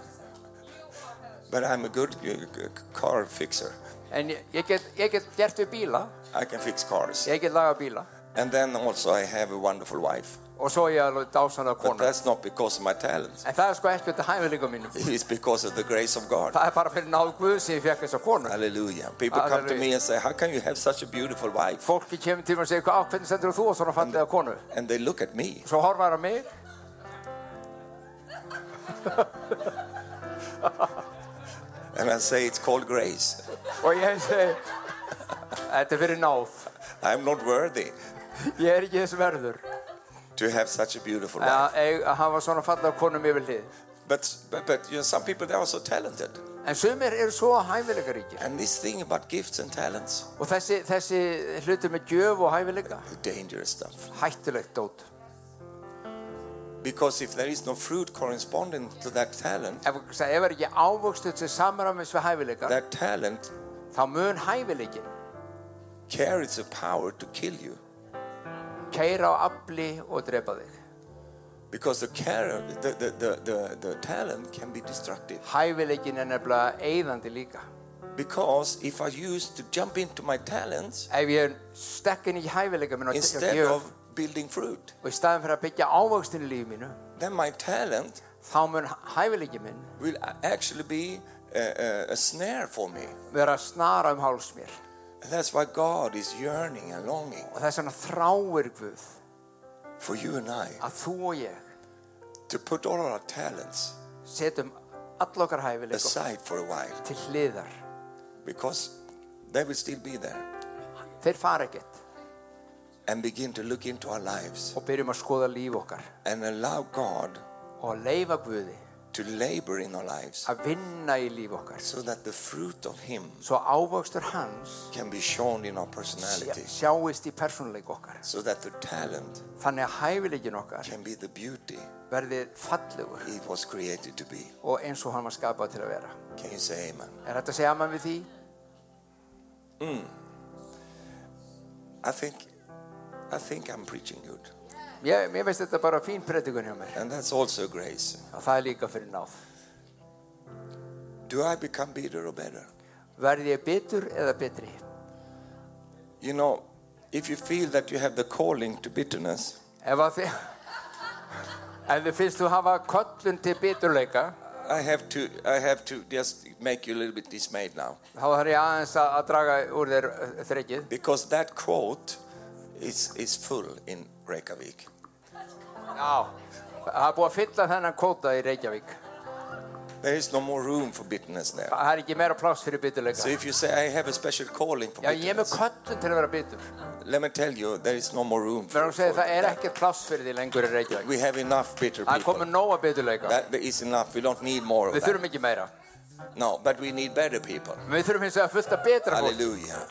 B: but I'm a good uh, g- car fixer.
C: en ég, ég, get, ég get gert við bíla,
B: I can fix cars.
C: ég get laga bíla
B: And then also I have a wonderful wife.
C: og svo ég alveg dásanlega
B: But
C: konu.
B: that's not because of my talent.
C: En það er sko ekkert að hæfileika mínum.
B: It's because of the grace of God.
C: Það er bara fyrir náð Guð sem ég fekk þessa konu.
B: Hallelujah. People come to me and say, How can you have such a beautiful wife?
C: Fólki kemur til mig og segir, "Hvað, hvernig sendur þú á svona fallega konu?
B: And they look at me.
C: Svo horfar það á mig,
B: And I say, It's called grace.
C: og ég segi þetta er fyrir náð
B: I'm not worthy
C: ég er ekki þess verður
B: to have such a beautiful wife.
C: að eig- að hafa svona fallega um konum yfir hlið
B: But, but, but you know, some people, they are so talented.
C: en sumir eru svo hæfileikaríkir
B: And this thing about gifts and talents,
C: og þessi, þessi hlutur með gjöf og hæfileika
B: dangerous stuff.
C: hættulegt dót
B: Because if there is no fruit corresponding to that talent,
C: ef, ef er ekki ávöxtuð til samræmis við hæfileika
B: that talent
C: þá mun hæfileikin
B: carries a power to kill you.
C: keira á afli og drepa þig
B: Because the, care, the, the, the, the, the talent can be destructive.
C: hæfileikin er nefnilega eigðandi líka
B: Because if I use to jump into my talents
C: ef ég stekkin í hæfileika minn og
B: instead
C: gjöf
B: of building fruit,
C: og í staðin fyrir að byggja ávöxtin í lífi mínu
B: then my talent
C: þá mun hæfileiki minn
B: will actually be a, a, a snare for me.
C: vera að snara um háls mér
B: And that's why God is yearning and longing
C: og þess vegna þráir Guð
B: for you and I
C: að þú og ég
B: to put all our talents
C: setjum all okkar hæfileikum
B: aside for a while
C: til hliðar
B: because they will still be there
C: þeir fara ekkert
B: and begin to look into our lives
C: og byrjum að skoða líf okkar
B: and allow God
C: og að leifa Guði
B: to labor in our lives
C: að vinna í líf okkar
B: so that the fruit of Him
C: svo ávöxtur hans
B: can be shown in our
C: sjá-
B: personality
C: sjáist í persónuleik okkar
B: so that the talent
C: þannig að hæfileikin okkar
B: can be the beauty
C: verði fallegur
B: it was created to be.
C: og eins og hann var skapað til að vera
B: Can you say amen?
C: er þetta að segja mann við því?
B: I think I think I'm preaching good.
C: Mér, mér veist þetta bara fín predikun hjá mér
B: And that's also grace.
C: og það er líka fyrir náð
B: Do I become bitter or better?
C: verði ég bitur eða betri
B: You know, if you feel that you have the calling to bitterness,
C: Ef að þið En þið finnst þú hafa köllun til biturleika
B: I have to I have to just make you a little bit dismayed now.
C: þá þarf ég aðeins að, að draga úr þér eh, þrekið
B: Because that quote is is full in Reykjavik.
C: Já Það er búið að fylla þennan kvóta í Reykjavík
B: There is no more room for bitterness there.
C: Það er ekki meira pláss fyrir biturleika
B: So if you say I have a special calling for
C: Já, ég er með
B: bitterness,
C: köllun til að vera bitur
B: let me tell you there is no more room
C: Mér
B: for,
C: hún segir
B: for
C: það er
B: that.
C: ekkert pláss fyrir því lengur í Reykjavík
B: We have enough bitter
C: Það er
B: people.
C: komið nóga biturleika
B: That is enough. We don't need more of
C: Við
B: that.
C: þurfum ekki meira
B: No, but we need better people.
C: Við þurfum hins vegar fullt að betra fólk
B: Hallelujah.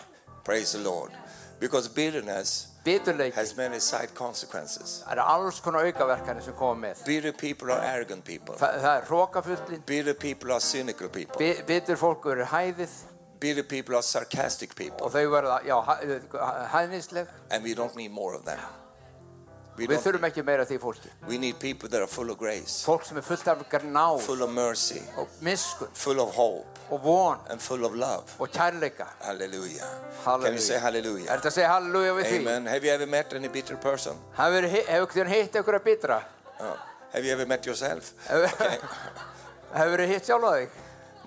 B: Praise the Lord. Because bitterness
C: Biturleiki
B: has many side consequences.
C: Það eru alls konar aukaverkanir sem koma með
B: Bitter people are arrogant people.
C: Þa, Það er hrókafullin
B: Bitter people are cynical people.
C: Bitur fólk eru hæðið
B: Bitter people are sarcastic people.
C: og þau verða já, hæ- hæðnisleg
B: And we don't need more of them. We,
C: Við
B: don't,
C: þurfum ekki meira af því fólki.
B: we need people that are full of grace,
C: Fólk sem er fullt af gnáð
B: full of mercy,
C: og miskun
B: full of hope,
C: og von
B: and full of love.
C: og kærleika.
B: Hallelujah. Can
C: Hallelujah.
B: you say hallelujah?
C: Er þetta að segja halleluja við því?
B: Amen. Have you ever met any bitter person?
C: Hefur þið hitt ykkur að bitra?
B: Oh. Have you ever met yourself?
C: Hefur þið hitt sjálf á þig?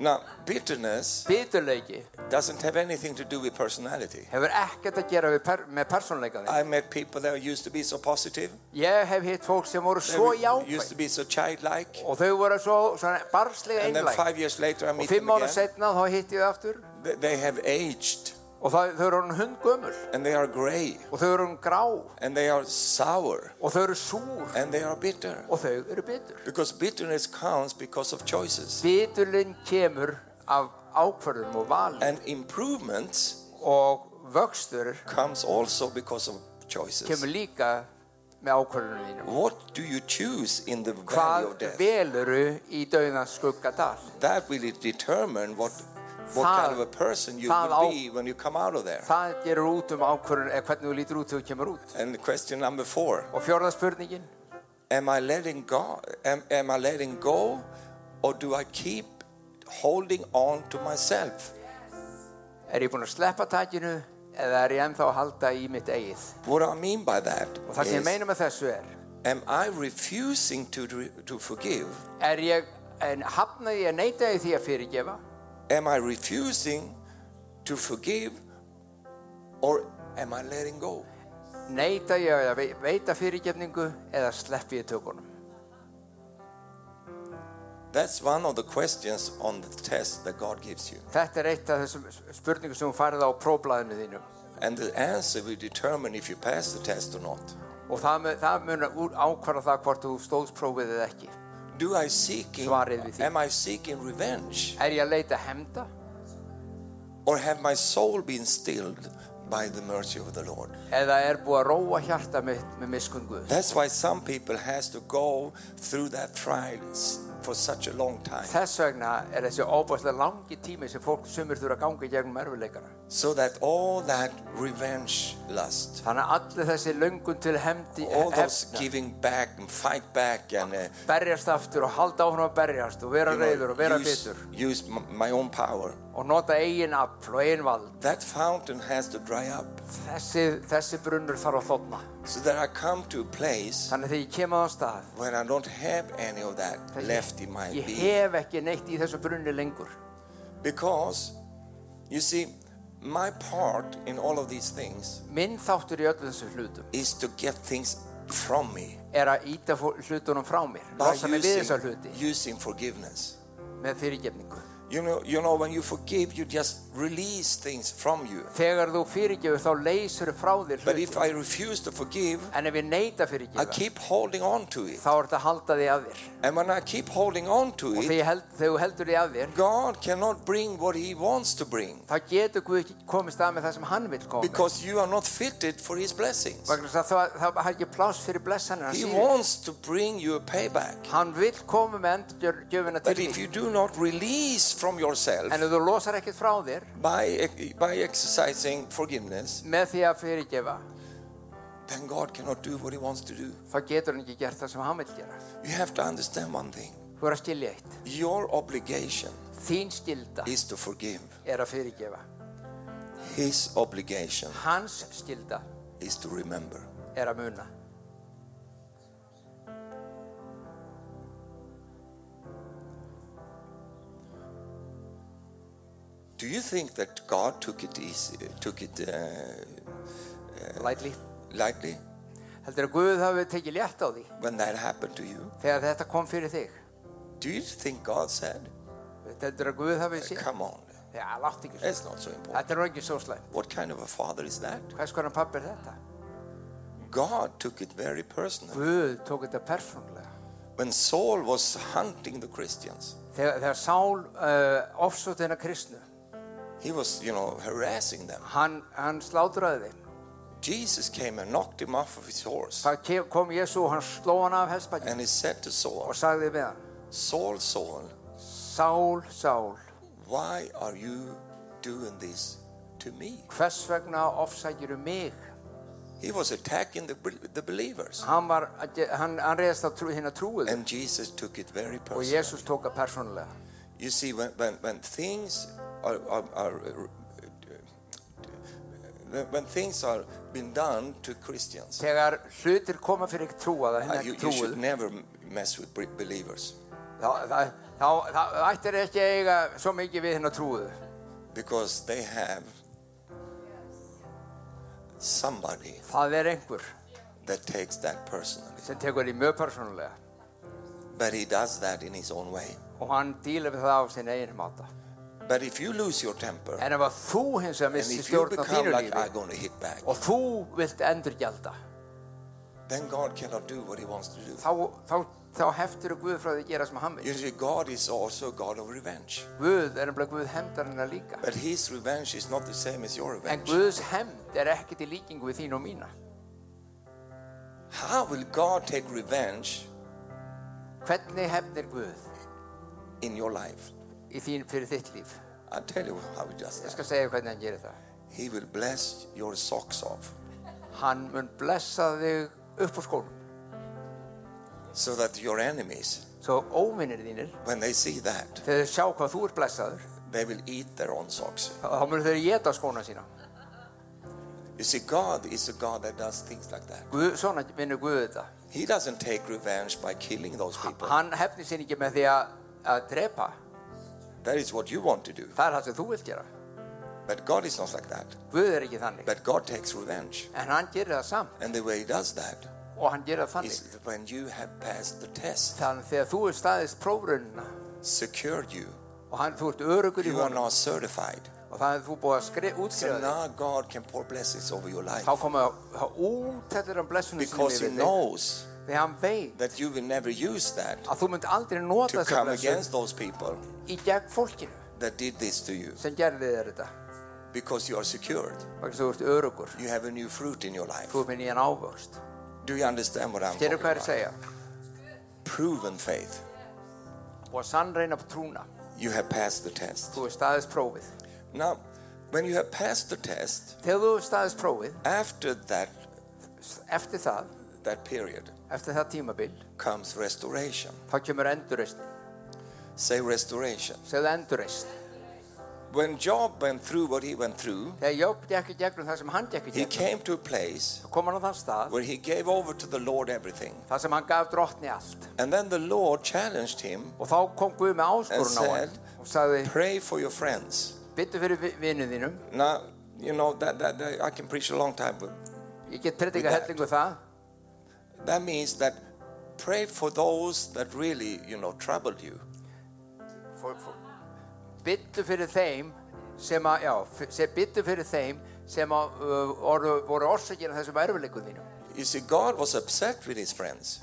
B: Now, bitterness
C: Biturleiki
B: doesn't have anything to do with personality.
C: hefur ekkert að gera við per, með persónleika þig.
B: I met people that used to be so positive,
C: Ég hef hitt fólk sem voru
B: they
C: svo
B: used
C: jákvæð
B: to be so childlike,
C: og þau voru svo svona barnslega
B: and then
C: einlæg.
B: five years later I
C: Og
B: meet them
C: fimm ára
B: again.
C: setna þá hitt ég þau aftur
B: They- They have aged,
C: og það, þau eru hann hundgömmul
B: and they are grey,
C: og þau eru hann grá og
B: and they are sour,
C: þau eru súr
B: and they are bitter.
C: og þau eru bitur.
B: Because bitterness counts because of choices.
C: Biturlinn kemur af ákvörðum og vali
B: And improvement
C: og vöxtur
B: comes also because of choices.
C: kemur líka með ákvörðunum þínum.
B: What do you choose in the valley
C: Hvað
B: of death?
C: veluru í dauðans skuggadal?
B: That will determine what, what
C: Það-
B: kind of a person you
C: það
B: will
C: á-
B: be when you come out of there.
C: Það gerur út um ákvörðun eða hvernig þú lítur út þegar þú kemur út.
B: And question number four:
C: Og fjórða spurningin,
B: Am I letting go? Am, am I letting go, or do I keep holding on to myself?
C: er ég búinn að sleppa takinu eða er ég ennþá að halda í mitt eigið?
B: What I mean by that
C: Og það sem
B: is,
C: ég meina með þessu er,
B: am I refusing to re- to forgive?
C: er ég en hafna því að neyta því því að fyrirgefa?
B: Am I refusing to forgive, or am I letting go?
C: Neyta ég að vei- veita fyrirgefningu eða sleppi ég tökunum?
B: That's one of the questions on the test that God gives you.
C: Þetta er eitt af þessum spurningum sem hún farið á próblaðinu þínu.
B: And the answer will determine if you pass the test or not.
C: Og það, mun- það mun úr- ákvarða það hvort þú stóðst prófið eða ekki.
B: Do I seeking
C: Svarið við því.
B: am I seeking revenge
C: Er ég að leita hemda?
B: or have my soul been stilled by the mercy of the Lord?
C: eða er búið að róa hjarta mitt með miskunn Guð.
B: That's why some people has to go through that trial s- for such a long time
C: Þess vegna er þessi óbærslega langi tími sem fólk sumir þurfa að ganga í gegnum erfileikana.
B: so that all that revenge lust
C: Þannig að allir þessi löngun til hefndi
B: all those
C: hefna,
B: giving back and fight back and uh,
C: berjast aftur og halda áfram að berjast og vera
B: you know,
C: reyður og vera
B: use,
C: bitur
B: use m- my own power
C: og nota eigin afl og eigin vald.
B: that fountain has to dry up
C: Þessi, þessi brunnur þarf að þotna.
B: so that I come to a place
C: Þannig að þegar ég kem að þann stað,
B: when I don't have any of that
C: þegar
B: left in my
C: ég, ég
B: being
C: hef ekki neitt í þessu brunni lengur.
B: Because, you see, my part in all of these things
C: Minn þáttur í öllum þessum hlutum
B: is to get things from me
C: er að íta hlutunum frá mér,
B: by
C: losa mig við þessa
B: using,
C: hluti
B: using forgiveness.
C: með fyrirgefningu.
B: You know, you know, when you forgive, you just release things from you.
C: Þegar þú fyrirgefur þá leysur frá þér
B: But
C: hluti
B: if I refuse to forgive,
C: En ef ég neyta
B: I
C: fyrirgefa
B: keep holding on to it.
C: þá er þetta að halda því að þér
B: And when I keep holding on to
C: Og
B: it,
C: þegar held, þegar þú heldur því að þér
B: God cannot bring what He wants to bring
C: þá getur Guð ekki komist að með það sem hann vil koma með.
B: because you are not fitted for His blessings.
C: Vegna þess að það, það er ekki pláss fyrir blessanir hans
B: He
C: í þér.
B: wants to bring you a payback.
C: Hann vil koma með endurgjöfina til
B: But if
C: því
B: you do not release from yourself,
C: En ef þú losar ekkert frá þér
B: by, e, by exercising forgiveness,
C: með því að fyrirgefa
B: then God cannot do what He wants to do.
C: þá getur hann ekki gert það sem hann vil gera
B: You have to understand one thing
C: Þú er að skilja eitt
B: your obligation
C: Þín skilda
B: is to forgive,
C: er að fyrirgefa
B: His obligation
C: Hans skilda
B: is to remember.
C: er að muna
B: Do you think that God took it easy, took it uh,
C: Lightly
B: lightly
C: Heldur að Guð hafi tekið létt á því
B: when that happened to you?
C: þegar þetta kom fyrir þig
B: Do you think God said,
C: Þetta er að Guð hafi séð
B: Come on,
C: Já, látt ekki svo
B: it's not so important?
C: Þetta er nú ekki svo slæm
B: What kind of a father is that?
C: Hvers konar pappi er þetta?
B: God took it very personal.
C: Guð tók þetta persónlega
B: When Saul was hunting the Christians,
C: Þegar, þegar Sál uh, ofsótt hennar kristnu
B: he was, you know, harassing them.
C: hann, hann slátraði þeim
B: Jesus came and knocked him off of his horse.
C: Það ke- kom Jésu og hann sló hann af hestbækjum
B: And he said to Saul,
C: og sagði við hann
B: Saul, Saul,
C: Sál, Sál,
B: why are you doing this to me?
C: hvers vegna ofsækjuru mig?
B: He was attacking the, bel- the believers.
C: Hann, var, að ge- hann, hann reyðist á trú, hérna trúið
B: And Jesus took it very
C: og
B: personally.
C: Jésús tók það persónulega.
B: You see, when, when, when things are, are, are uh, when- when things are been done to Christians,
C: Þegar hlutir koma fyrir trúaða,
B: uh,
C: hérna
B: you, you
C: trúið,
B: should never m- mess with be- believers
C: þá, þá, þá, þá ættir ekki að eiga svo mikið við hérna trúið.
B: because they have somebody
C: Það er einhver
B: that takes that personally.
C: sem tekur því mjög persónulega
B: But he does that in his own way.
C: og hann dílar við það á sinna eigin máta.
B: But if you lose your temper,
C: En ef að þú hins vegar
B: and
C: missi
B: if you
C: stjórn á
B: become
C: þínu
B: like,
C: lífi
B: I'm going to hit back,
C: og þú vilt endur gjalda,
B: then God cannot do what he wants to do.
C: þá, þá, þá heftir Guð frá því að gera sem hann
B: You
C: vil.
B: see, God is also a God of revenge.
C: Guð er nefnilega Guð hefndarinnar líka.
B: But his revenge is not the same as your
C: En
B: revenge.
C: Guðs hefnd er ekkert í líkingu við þín og mína.
B: How will God take revenge
C: Hvernig hefnir Guð
B: in your life?
C: í þín fyrir þitt líf?
B: I'll tell you how he does
C: Ég
B: that.
C: skal segja þér hvernig hann gerir það.
B: He will bless your socks off
C: Hann mun blessa þig upp úr skónum.
B: so that your enemies,
C: Svo óvinnir þínir,
B: when they see that,
C: þegar þeir sjá hvað þú ert blessaður,
B: they will eat their own socks.
C: þá þá munu þeir geta skóna sína.
B: You see, God is a God that does things like that.
C: Guð, svona vinnur Guð þetta.
B: He doesn't take revenge by killing those people.
C: Hann hefnir sér ekki með því að, að drepa.
B: That is what you want to do.
C: Það er það sem þú vilt gera.
B: But God is not like that.
C: Guð er ekki þannig.
B: But God takes revenge.
C: En hann gerir það samt
B: And the way He does that
C: og hann gerir það þannig.
B: is when you have passed the test,
C: Þannig þegar þú er staðist prófrunina
B: secured you,
C: og hann, þú ert örugur í
B: you are
C: honum
B: now certified.
C: og það er þú búið að skri,
B: So
C: útskrifa þig.
B: now God can pour blessings over your life
C: Þá koma það út þetta um blessunum
B: because He knows
C: þig. Þegar hann veit
B: that you will never use that
C: að þú mynd aldrei nota
B: to
C: þessa
B: come
C: blessun
B: against those people
C: í gegn fólkinu
B: that did this to you
C: sem gerði þér þetta.
B: because you are secured.
C: Vegna þú ert örugur.
B: You have a new fruit in your life.
C: Þú ert minn í hann ávöxt.
B: Do you understand what I'm talking
C: Gerðu hvað ég er að
B: about?
C: segja.
B: Proven faith.
C: Og að sannreina trúna.
B: You have passed the test.
C: Þú er staðist prófið.
B: Now, when you have passed the test,
C: Þegar þú er staðist prófið,
B: after that
C: eftir það,
B: that period
C: eftir það tímabil,
B: comes restoration.
C: þá kemur endurreist.
B: Say restoration.
C: Segðu endurreist.
B: When Job went through what he went through,
C: Þegar Job gekk í gegnum það sem hann gekk í
B: he
C: gegnum,
B: came to a place
C: þá kom hann á þann stað
B: where he gave over to the Lord everything.
C: þar sem hann gaf drottni allt.
B: And then the Lord challenged him
C: Og þá kom Guð með áskorun á
B: And
C: hann
B: said-
C: og sagði,
B: pray for your friends.
C: byttu fyrir vi- vinnu þínum,
B: Now, you know, that, that, that- I can preach a long time, but
C: ég get predika
B: With that.
C: hellingu um það,
B: that means that pray for those that really, you know, troubled you.
C: for, for, byttu fyrir þeim sem að, já, f- sem byttu fyrir þeim sem að uh, orðu, voru orsakir af þessum erfileikum þínum.
B: You see, God was upset with his friends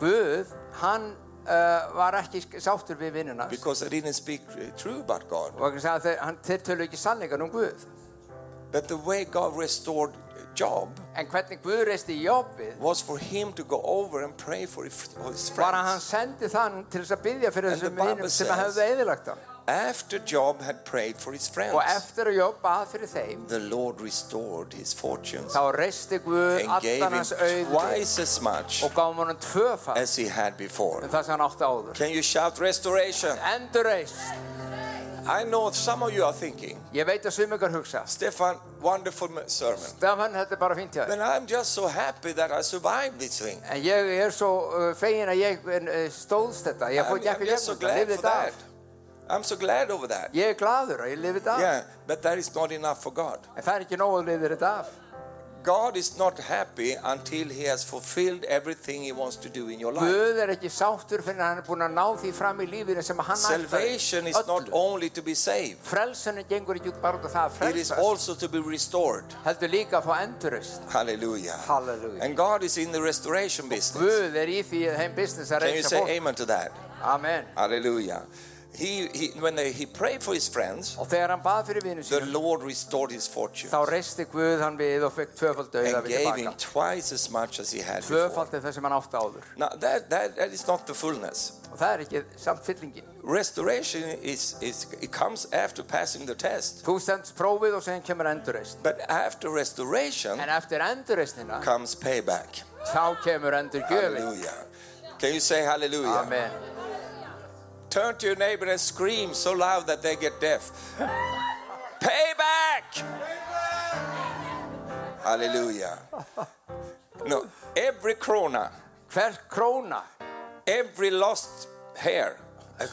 C: Guð, hann uh, var ekki sk- sáttur við vinnuna og
B: because they didn't speak uh, true about God.
C: hann sagði að þeir, hann- þeir tölu ekki sannleikan um Guð.
B: But the way God restored Job
C: En hvernig Guð reisti Job við
B: was for him to go over and pray for his for his
C: var að hann
B: friends.
C: sendi þann til þess að byggja fyrir
B: And the
C: þessum
B: Bible
C: vinum sem
B: says-
C: hefði eðilagt hann
B: After Job had prayed for his
C: og
B: friends,
C: eftir að Job bað fyrir þeim
B: the Lord restored his fortunes
C: þá reisti Guð
B: and gave
C: allan
B: him
C: hans auði
B: twice as much
C: og gaf honum tvöfall
B: as he had before.
C: en það sem hann átti áður
B: Can you shout restoration?
C: endurreist,
B: I know some of you are thinking,
C: ég veit að sum ykkur hugsa
B: Stefan, wonderful m- sermon.
C: Stefan, þetta er bara fínt hjá þér
B: Then I'm just so happy that I survived this thing.
C: en ég er svo uh, fegin að ég uh, stóðst þetta ég
B: I'm,
C: fór ekki
B: I'm just so
C: gegnum þetta,
B: glad
C: lifði
B: for
C: þetta
B: that.
C: af
B: I'm so glad over that.
C: ég er gladur að ég lifði þetta af
B: Yeah, but that is not enough for God.
C: en það er ekki nóg að lifði þetta af
B: God is not happy until He has fulfilled everything He wants to do in your life.
C: Guð er ekki sáttur fyrir hann er búin að ná því fram í lífinu sem hann
B: Salvation is not
C: öllu.
B: only to be saved,
C: Frelsunin gengur ekki út bara út af það að
B: it is
C: frelsast,
B: also to be restored.
C: heldur líka að fá endurist.
B: Hallelujah.
C: Hallelujah.
B: And God is in the restoration business.
C: Guð er í því að heim business að
B: Can you
C: reysa
B: say
C: fólk.
B: amen to that?
C: Amen.
B: Hallelujah. He, he, when they, he prayed for his friends,
C: og þegar hann bað fyrir vinnu
B: the
C: sínum
B: Lord restored his fortune
C: þá reisti Guð hann við og fekk tvöfald dauða
B: and
C: við
B: gave him
C: tilbaka
B: twice as much as he had before.
C: tvöfald er það sem hann átti áður
B: Now, that, that, that is not the fullness.
C: og það er ekki samt fyllingin
B: Restoration is, is it comes after passing the test.
C: þú sendst prófið og sen kemur endurreist
B: But after restoration
C: en eftir endurreisnina
B: comes payback.
C: þá kemur endurgjöfin
B: Hallelujah. Can you say hallelujah?
C: Amen
B: Turn to your neighbor and scream so loud that they get deaf. Payback! Hallelujah. No, every krona,
C: hver króna
B: every lost hair,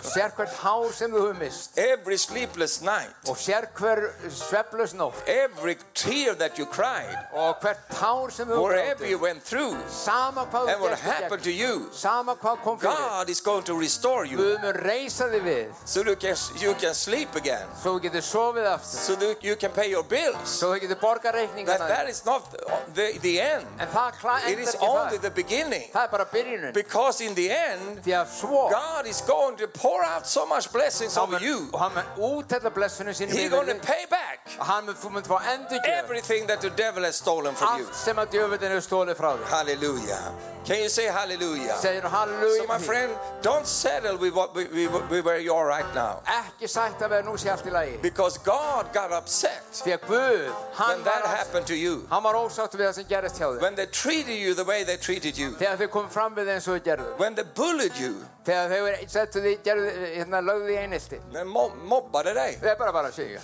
C: sér hvert hár sem þú hefur mist
B: every sleepless night,
C: og sér hver sveflus nótt
B: every tear that you cried,
C: og hvert tár sem þú hefur
B: wherever
C: grátið,
B: you went through,
C: sama hvað
B: and
C: þú
B: what
C: gerst í
B: happened to
C: gegn,
B: you,
C: sama hvað kom fyrir
B: God is going to restore you
C: Guð mun reysa þig við
B: so you can, you can sleep again,
C: svo þú getur sofið aftur
B: so that you can pay your bills.
C: svo þú getur borga
B: That,
C: reikningana
B: that is not the, the end.
C: en það kla-
B: It
C: endar
B: is
C: ekki
B: only
C: það
B: the beginning.
C: það er bara byrjunum
B: Because in the end,
C: því að svo
B: God is going to pour out so much blessings
C: þá
B: over
C: mun-
B: you.
C: og hann mun útella blessunum sínum
B: He's
C: yfir
B: going to
C: þig.
B: pay back
C: og hann mun þú mun fá endurgjöf
B: everything that the devil has stolen from you.
C: allt sem að djöfullin hefur stólið frá þig
B: Hallelujah. Can you say hallelujah?
C: segir hann halleluja
B: So, my
C: því.
B: friend, don't settle with what we, we, we, where you are right now.
C: ekki sætt að vera nú sé allt í lagi
B: Because God got upset
C: því að Guð hann
B: when that
C: var,
B: happened to you.
C: hann var ósáttu við það sem gerist hjá þig
B: When they treated you the way they treated you.
C: þegar þau kom fram við þeim svo þau gerðu
B: When they bullied you.
C: þegar þau er- settu því gerðu hérna lögðu því einelti
B: They mo- mobbade dig.
C: það er bara bara að segja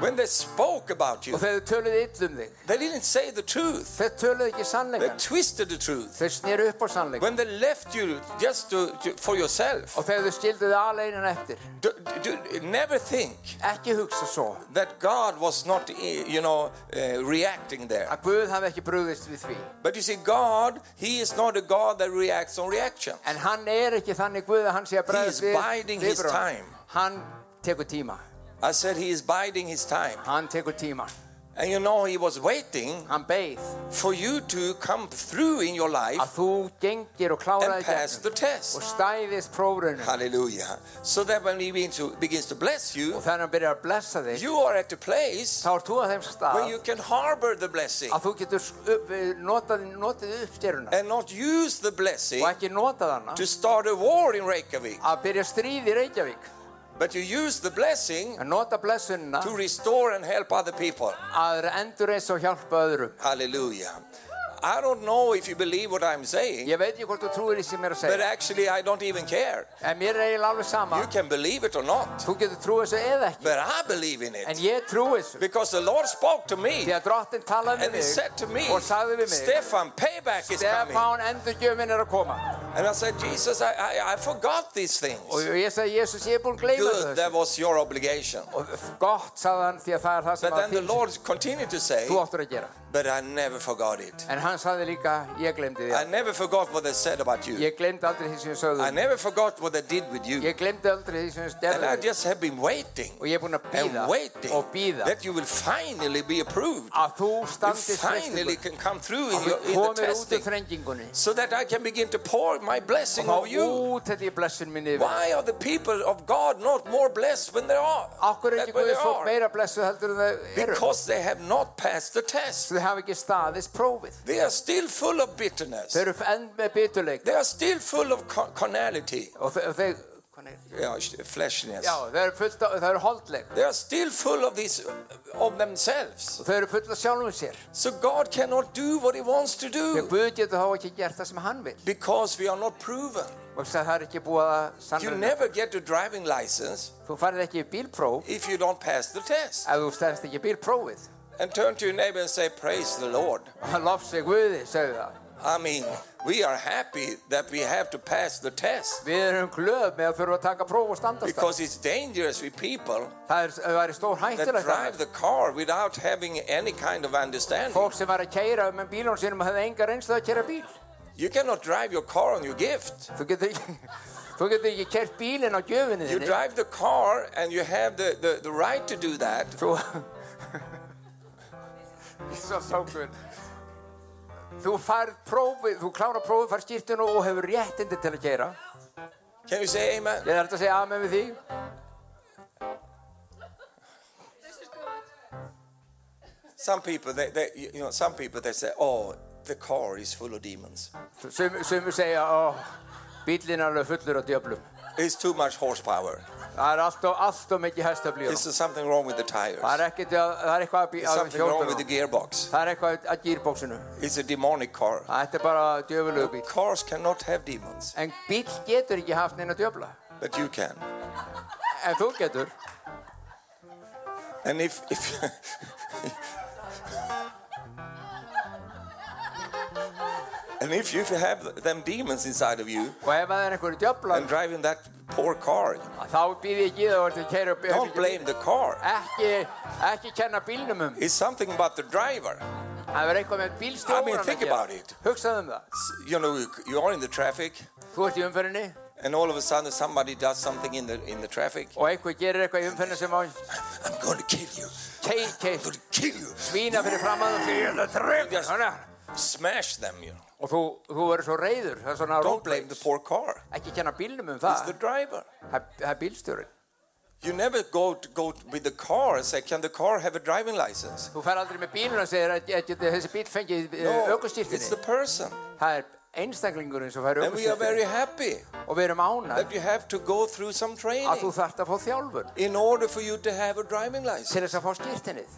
B: When they spoke about you.
C: og þegar þau töluðu ill um þig
B: They didn't say the truth.
C: þau töluðu ekki
B: They
C: sannleikan
B: twisted the truth.
C: þau snýru upp á sannleikan
B: When they left you just to, to, for yourself,
C: og þegar þau skildu þið aðleinan eftir
B: do, do, never think
C: ekki hugsa svo
B: that God was not, eh, you know, uh, reacting there.
C: að Guð hafi ekki brugðist við því
B: But you see, God, He is not a God that reacts on reaction.
C: en hann er ekki þannig Guð að hann sé að
B: is
C: brugðist við
B: biding his
C: viðbrögðum.
B: time.
C: hann tekur tíma
B: I said He is biding His time.
C: hann tekur tíma
B: And you know, He was waiting
C: hann beið
B: for you to come through in your
C: að
B: life
C: þú gengir og kláraði
B: and pass
C: gegnum
B: the test.
C: og stæðist prófrunum
B: Hallelujah. So that when He begins to, begins to bless you,
C: og þegar hann byrjar að blessa þig
B: you are at a place
C: þá ert þú að þeim stað
B: where you can harbor the blessing
C: að þú getur s- upp- eh, notað, notið uppstjöruna
B: and not use the blessing
C: og ekki notað hana
B: Eh, to start a war in Reykjavik,
C: að byrja stríð í Reykjavík
B: but you use the blessing
C: að nota blessunina
B: to restore and help other people.
C: að endur eins og hjálpa öðrum
B: Hallelujah. I don't know if you believe what I'm saying,
C: ég veit ekki hvort þú trúir í sem ég er að
B: but
C: segja
B: actually, I don't even care.
C: en mér er eiginlega alveg sama
B: You can believe it or not,
C: þú getur trúið þessu eða ekki
B: but I believe in
C: en
B: it
C: ég trúi þessu
B: because the Lord spoke to me
C: því að drottin talaði
B: and He
C: við
B: said to me,
C: mig og sagði við mig
B: Stefan, payback is coming.
C: Stefán endurgjöfin er að koma
B: And I said, Jesus, I, I, I forgot these
C: og
B: things.
C: ég sagði Jésús ég er búinn að gleyma
B: Good,
C: þessu
B: that was your obligation.
C: og gott sagði hann því að það er það
B: But
C: sem
B: then
C: að
B: the
C: þín-
B: Lord continued to say,
C: þú áttur að gera
B: but I never forgot it.
C: en hann sagði líka ég glemdi
B: I
C: því
B: never forgot what they said about you.
C: ég glemdi aldrei því sem ég sögðu
B: I never forgot what they did with you.
C: ég glemdi aldrei því sem ég
B: And I
C: gerði
B: just have been waiting
C: og ég er búinn að
B: and
C: býða
B: waiting
C: og býða
B: that you will finally be approved.
C: að þú
B: You
C: standist
B: finally
C: frestingun
B: can come through in,
C: að þú
B: your, in the
C: komir út úr
B: testing
C: þrengingunni
B: so that I can begin to pour my blessing
C: og
B: over
C: þá
B: you.
C: út þetta ég blessun minni yfir
B: Why are the people of God not more blessed when they are?
C: okkur er
B: than
C: ekki
B: when
C: Guði
B: they
C: svo
B: are?
C: meira blessuð heldur en það eru
B: Because they have not passed the test.
C: þau hafa ekki staðist prófið
B: They are still full of bitterness.
C: þau eru enn með biturleik
B: They are still full of car- carnality,
C: og þau, þau hvernig er-
B: yeah, fleshiness.
C: já, þau eru fullt af, þau eru holdleik
B: They are still full of these of themselves.
C: og þau eru fullt af sjálfum sér
B: So God cannot do what He wants to
C: því að
B: do
C: Guð getur þá ekki gert það sem hann vil
B: because we are not proven.
C: og þess að það er ekki búið að
B: You
C: sannlega
B: never get a driving license
C: þú farið ekki í bílpróf
B: if you don't pass the test.
C: ef þú stendst ekki í bílprófið
B: And turn to your neighbor and say, Praise the Lord.
C: og hann lof sig Guði, segðu það
B: I mean, we are happy that we have to pass the test
C: við erum glöð með að þurfa að taka próf og standast það
B: because it's dangerous with people
C: það er, það er stór
B: that
C: hættilegt
B: drive
C: annars.
B: the car without having any kind of understanding.
C: fólk sem var að keira með bílun sínum og hefði enga reynslu að keira bíl
B: You cannot drive your car on your gift.
C: þú getur ekki þú getur ekki kert bílinn á gjöfinni
B: You
C: þinni
B: drive the car and you have the, the, the right to do that
C: þú svo sákun þú færð prófið, þú klára prófið, færð skýrtinu og hefur réttindi til að keira
B: Can you say amen?
C: Ég þarf að segja amen við því.
B: Some people, they, they, you know, some people they say, "Oh, the car is full of demons.
C: Sum, sumur segja, ó, bíllinn er alveg fullur á djöflum.
B: It's too much horsepower.
C: Það er allt og, allt og mikið hestaflíu.
B: There's something wrong with the tires.
C: Það er ekkert, að- það er eitthvað að bí-
B: There's
C: að
B: something wrong with the
C: hjólunum.
B: gearbox.
C: Það er eitthvað að gýrbóksinu.
B: It's a demonic car.
C: Þetta er bara djöfulegu bíl.
B: Cars cannot have demons,
C: En bíll getur ekki haft neina djöfla.
B: but you can.
C: En þú getur.
B: And if if and if you have them demons inside of you
C: Og ef það er einhverju djöfla,
B: and driving that poor car,
C: þá býð ég ekki það að þú keirir upp.
B: don't blame the
C: Ah.
B: car.
C: Ekki, ekki kenna bílnum um.
B: It's something about the driver.
C: Það er eitthvað með
B: I mean,
C: bílstjóran
B: think about it.
C: Hugsaðu um það.
B: S- You know, you- you are in the traffic,
C: Þú ert í umferðinni
B: and all of a sudden somebody does something in the in the traffic. Oh,
C: og einhver gerir eitthvað í umferðinni sem á
B: I'm going to kill you.
C: kei- kei-
B: I'm going to kill you.
C: svína fyrir fram að
B: Yes.
C: það.
B: Smash them. You know.
C: Og þú, þú verður svo reyður. Það er svona
B: Don't
C: road
B: blame Ah. the
C: rage.
B: poor car.
C: Ekki kenna bílnum um
B: It's
C: það.
B: the driver.
C: Það það er bílstjórin.
B: You never go to go with the car and say, "Can the car have a driving license?"
C: Þú fer aldrei með bílun og segir að, að, að þessi bíl fengi
B: No, it's the
C: aukustýrtinni.
B: person.
C: Það er einstaklingurinn sem fær
B: And we are very
C: aukustýrtinni.
B: happy
C: Og við erum ánað
B: that you have to go through some
C: að þú
B: training
C: þarft að fá þjálfun
B: in order for you to have a driving license.
C: til þess að fá skýrtinnið.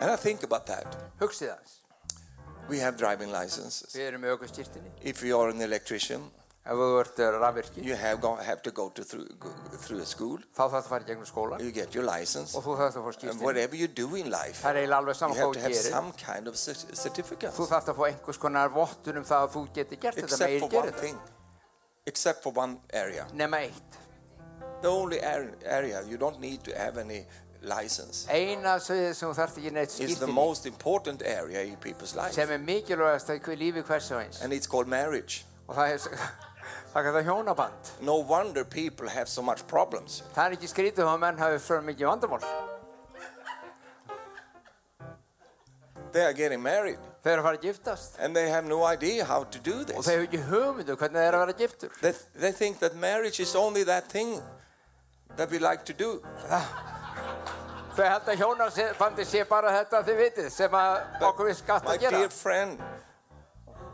B: And I think about that.
C: Hugsið það.
B: We have driving licenses.
C: Við erum með aukustýrtinni.
B: If you are an electrician,
C: Ef þú ert eh, rafvirki,
B: you have go, have to go to through go, through a school.
C: þá þarf það að fara í gegnum skóla
B: You get your license,
C: og þú þarf að fá
B: and
C: skýrtinni.
B: whatever you do in life,
C: Það er eiginlega alveg
B: you
C: saman
B: have
C: hvað
B: to
C: þú
B: have
C: gerir.
B: some kind of certi- certificate,
C: Þú þarft að fá einhvers konar vottun um það að þú geti gert þetta með
B: except for
C: eigin
B: one
C: gerir þetta.
B: thing, except for one area.
C: Nema eitt.
B: The only ar- area you don't need to have any license
C: Eina sviðið sem þú þarft ekki neitt
B: is the
C: skýrtinni
B: most important area in people's life,
C: sem er mikilvægast í hver- lífi hvers og eins.
B: and it's called marriage.
C: Og það er, það er það hjónaband.
B: No wonder people have so much problems.
C: Það er ekki skrítið um að menn hafi svona mikið vandamál.
B: They are getting married,
C: Þau eru að fara að giftast
B: and they have no idea how to do
C: og
B: this.
C: þau hefur ekki hugmyndu hvernig það er að vera giftur.
B: They, they think that marriage is only that thing that we like to do.
C: Þau held að hjónabandi sé bara þetta þið vitið sem að
B: But
C: okkur við skatt
B: my
C: að gera.
B: dear friend,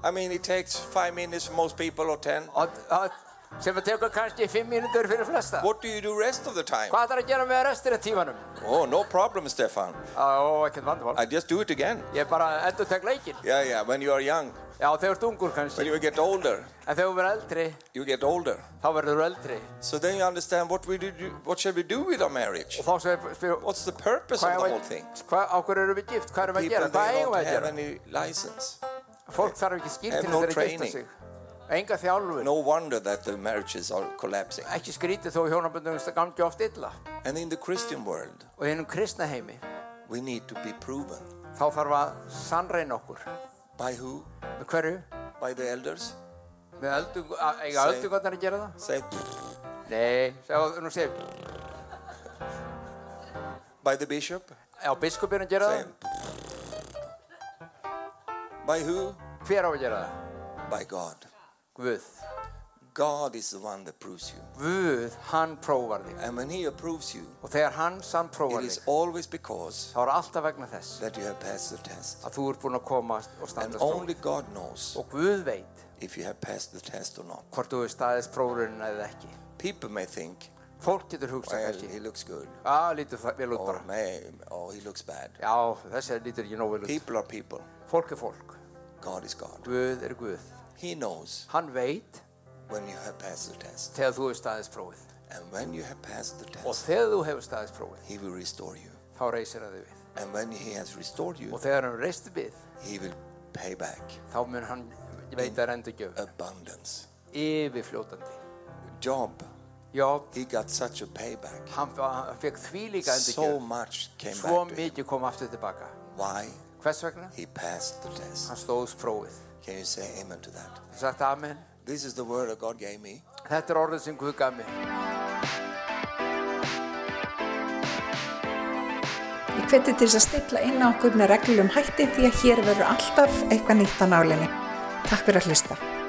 B: I mean, it takes five minutes for most people or ten.
C: Og, og sem að tekur kannski fimm mínútur fyrir flesta.
B: What do you do rest of the time?
C: Hvað þarf að gera með restir af tímanum?
B: Oh, no problem, Stefan.
C: Ó, ekkert vandamál.
B: I just do it again.
C: Ég bara endur tek leikinn.
B: Yeah, yeah, when you are young.
C: Já, þau ert ungur
B: When
C: kannski.
B: you get older,
C: En þegar þú verður eldri,
B: you get older.
C: þá verður þú eldri.
B: So then you understand what we do, what shall we do with our marriage?
C: Og þá sem við spyrum,
B: What's the purpose of
C: hvað
B: the
C: er
B: whole
C: að,
B: thing?
C: hvað, á hverju erum við gift? Hvað erum við að
B: People
C: gera?
B: they
C: Hvað eigum
B: don't
C: við að
B: have
C: gera?
B: any license.
C: Fólk þarf ekki skýrt
B: Have
C: til
B: no
C: þeirra að gifta
B: training.
C: sig. Enga þjálfur.
B: No wonder that the marriages are collapsing.
C: Ekki skrítið þó hjónaböndum gangi oft illa.
B: And in the Christian world,
C: Og í hennum kristna heimi,
B: we need to be proven
C: þá þarf að sannreina okkur.
B: by who?
C: Með hverju?
B: By the elders.
C: Með öldung, að- eiga
B: Seg-
C: öldungarnar að gera það?
B: Say
C: Nei, segðu, nú segir,
B: by the bishop.
C: á biskupin að gera
B: Say
C: það?
B: by who?
C: Hver á að gera það?
B: By God.
C: Guð.
B: God is the one that proves you,
C: Guð, hann prófar þig.
B: and when He approves you,
C: Og þegar hann sann
B: it
C: prófar
B: is
C: þig,
B: always because
C: þá er alltaf vegna þess
B: that you have passed the test.
C: að þú ert búinn að komast og
B: And
C: standast prófið.
B: only God knows
C: Og Guð veit
B: if you have passed the test or not.
C: hvort þú er staðist prófurinn eða ekki.
B: People may think,
C: Fólk getur hugsað
B: well,
C: kannski.
B: he looks good,
C: Já, lítur það vel út
B: or
C: bara.
B: may, oh, he looks bad.
C: Já, þessi lítur ekki nógu vel út.
B: People are people.
C: Fólk er fólk.
B: God is God.
C: Guð er Guð.
B: He knows
C: Hann veit
B: when you have passed the test,
C: þegar þú er staðist prófið.
B: and when you have passed the
C: Og
B: test,
C: þegar þú hefur staðist prófið,
B: He will restore you.
C: þá reysir hann þig við.
B: And when He has restored you,
C: Og þegar hann reysir við,
B: He will pay back
C: þá mun hann veita rendugjöf.
B: abundance.
C: Yfirfljótandi.
B: Job,
C: Job
B: he got such a payback.
C: hann, hann fekk þvílíka
B: So
C: endurgjöf
B: much came
C: svo
B: back to him.
C: mikið kom aftur tilbaka
B: Why?
C: hvers vegna?
B: He passed the test.
C: hann stóðs prófið
B: Can you say amen to that?
C: Þú sagt amen
B: This is the word that God gave me.
C: þetta er orðið sem Guð gaf mér
A: Ég hveti til þess að stilla inn á okkur með reglum hætti því að hér verður alltaf eitthvað nýtt á nálinni. Takk fyrir að hlusta.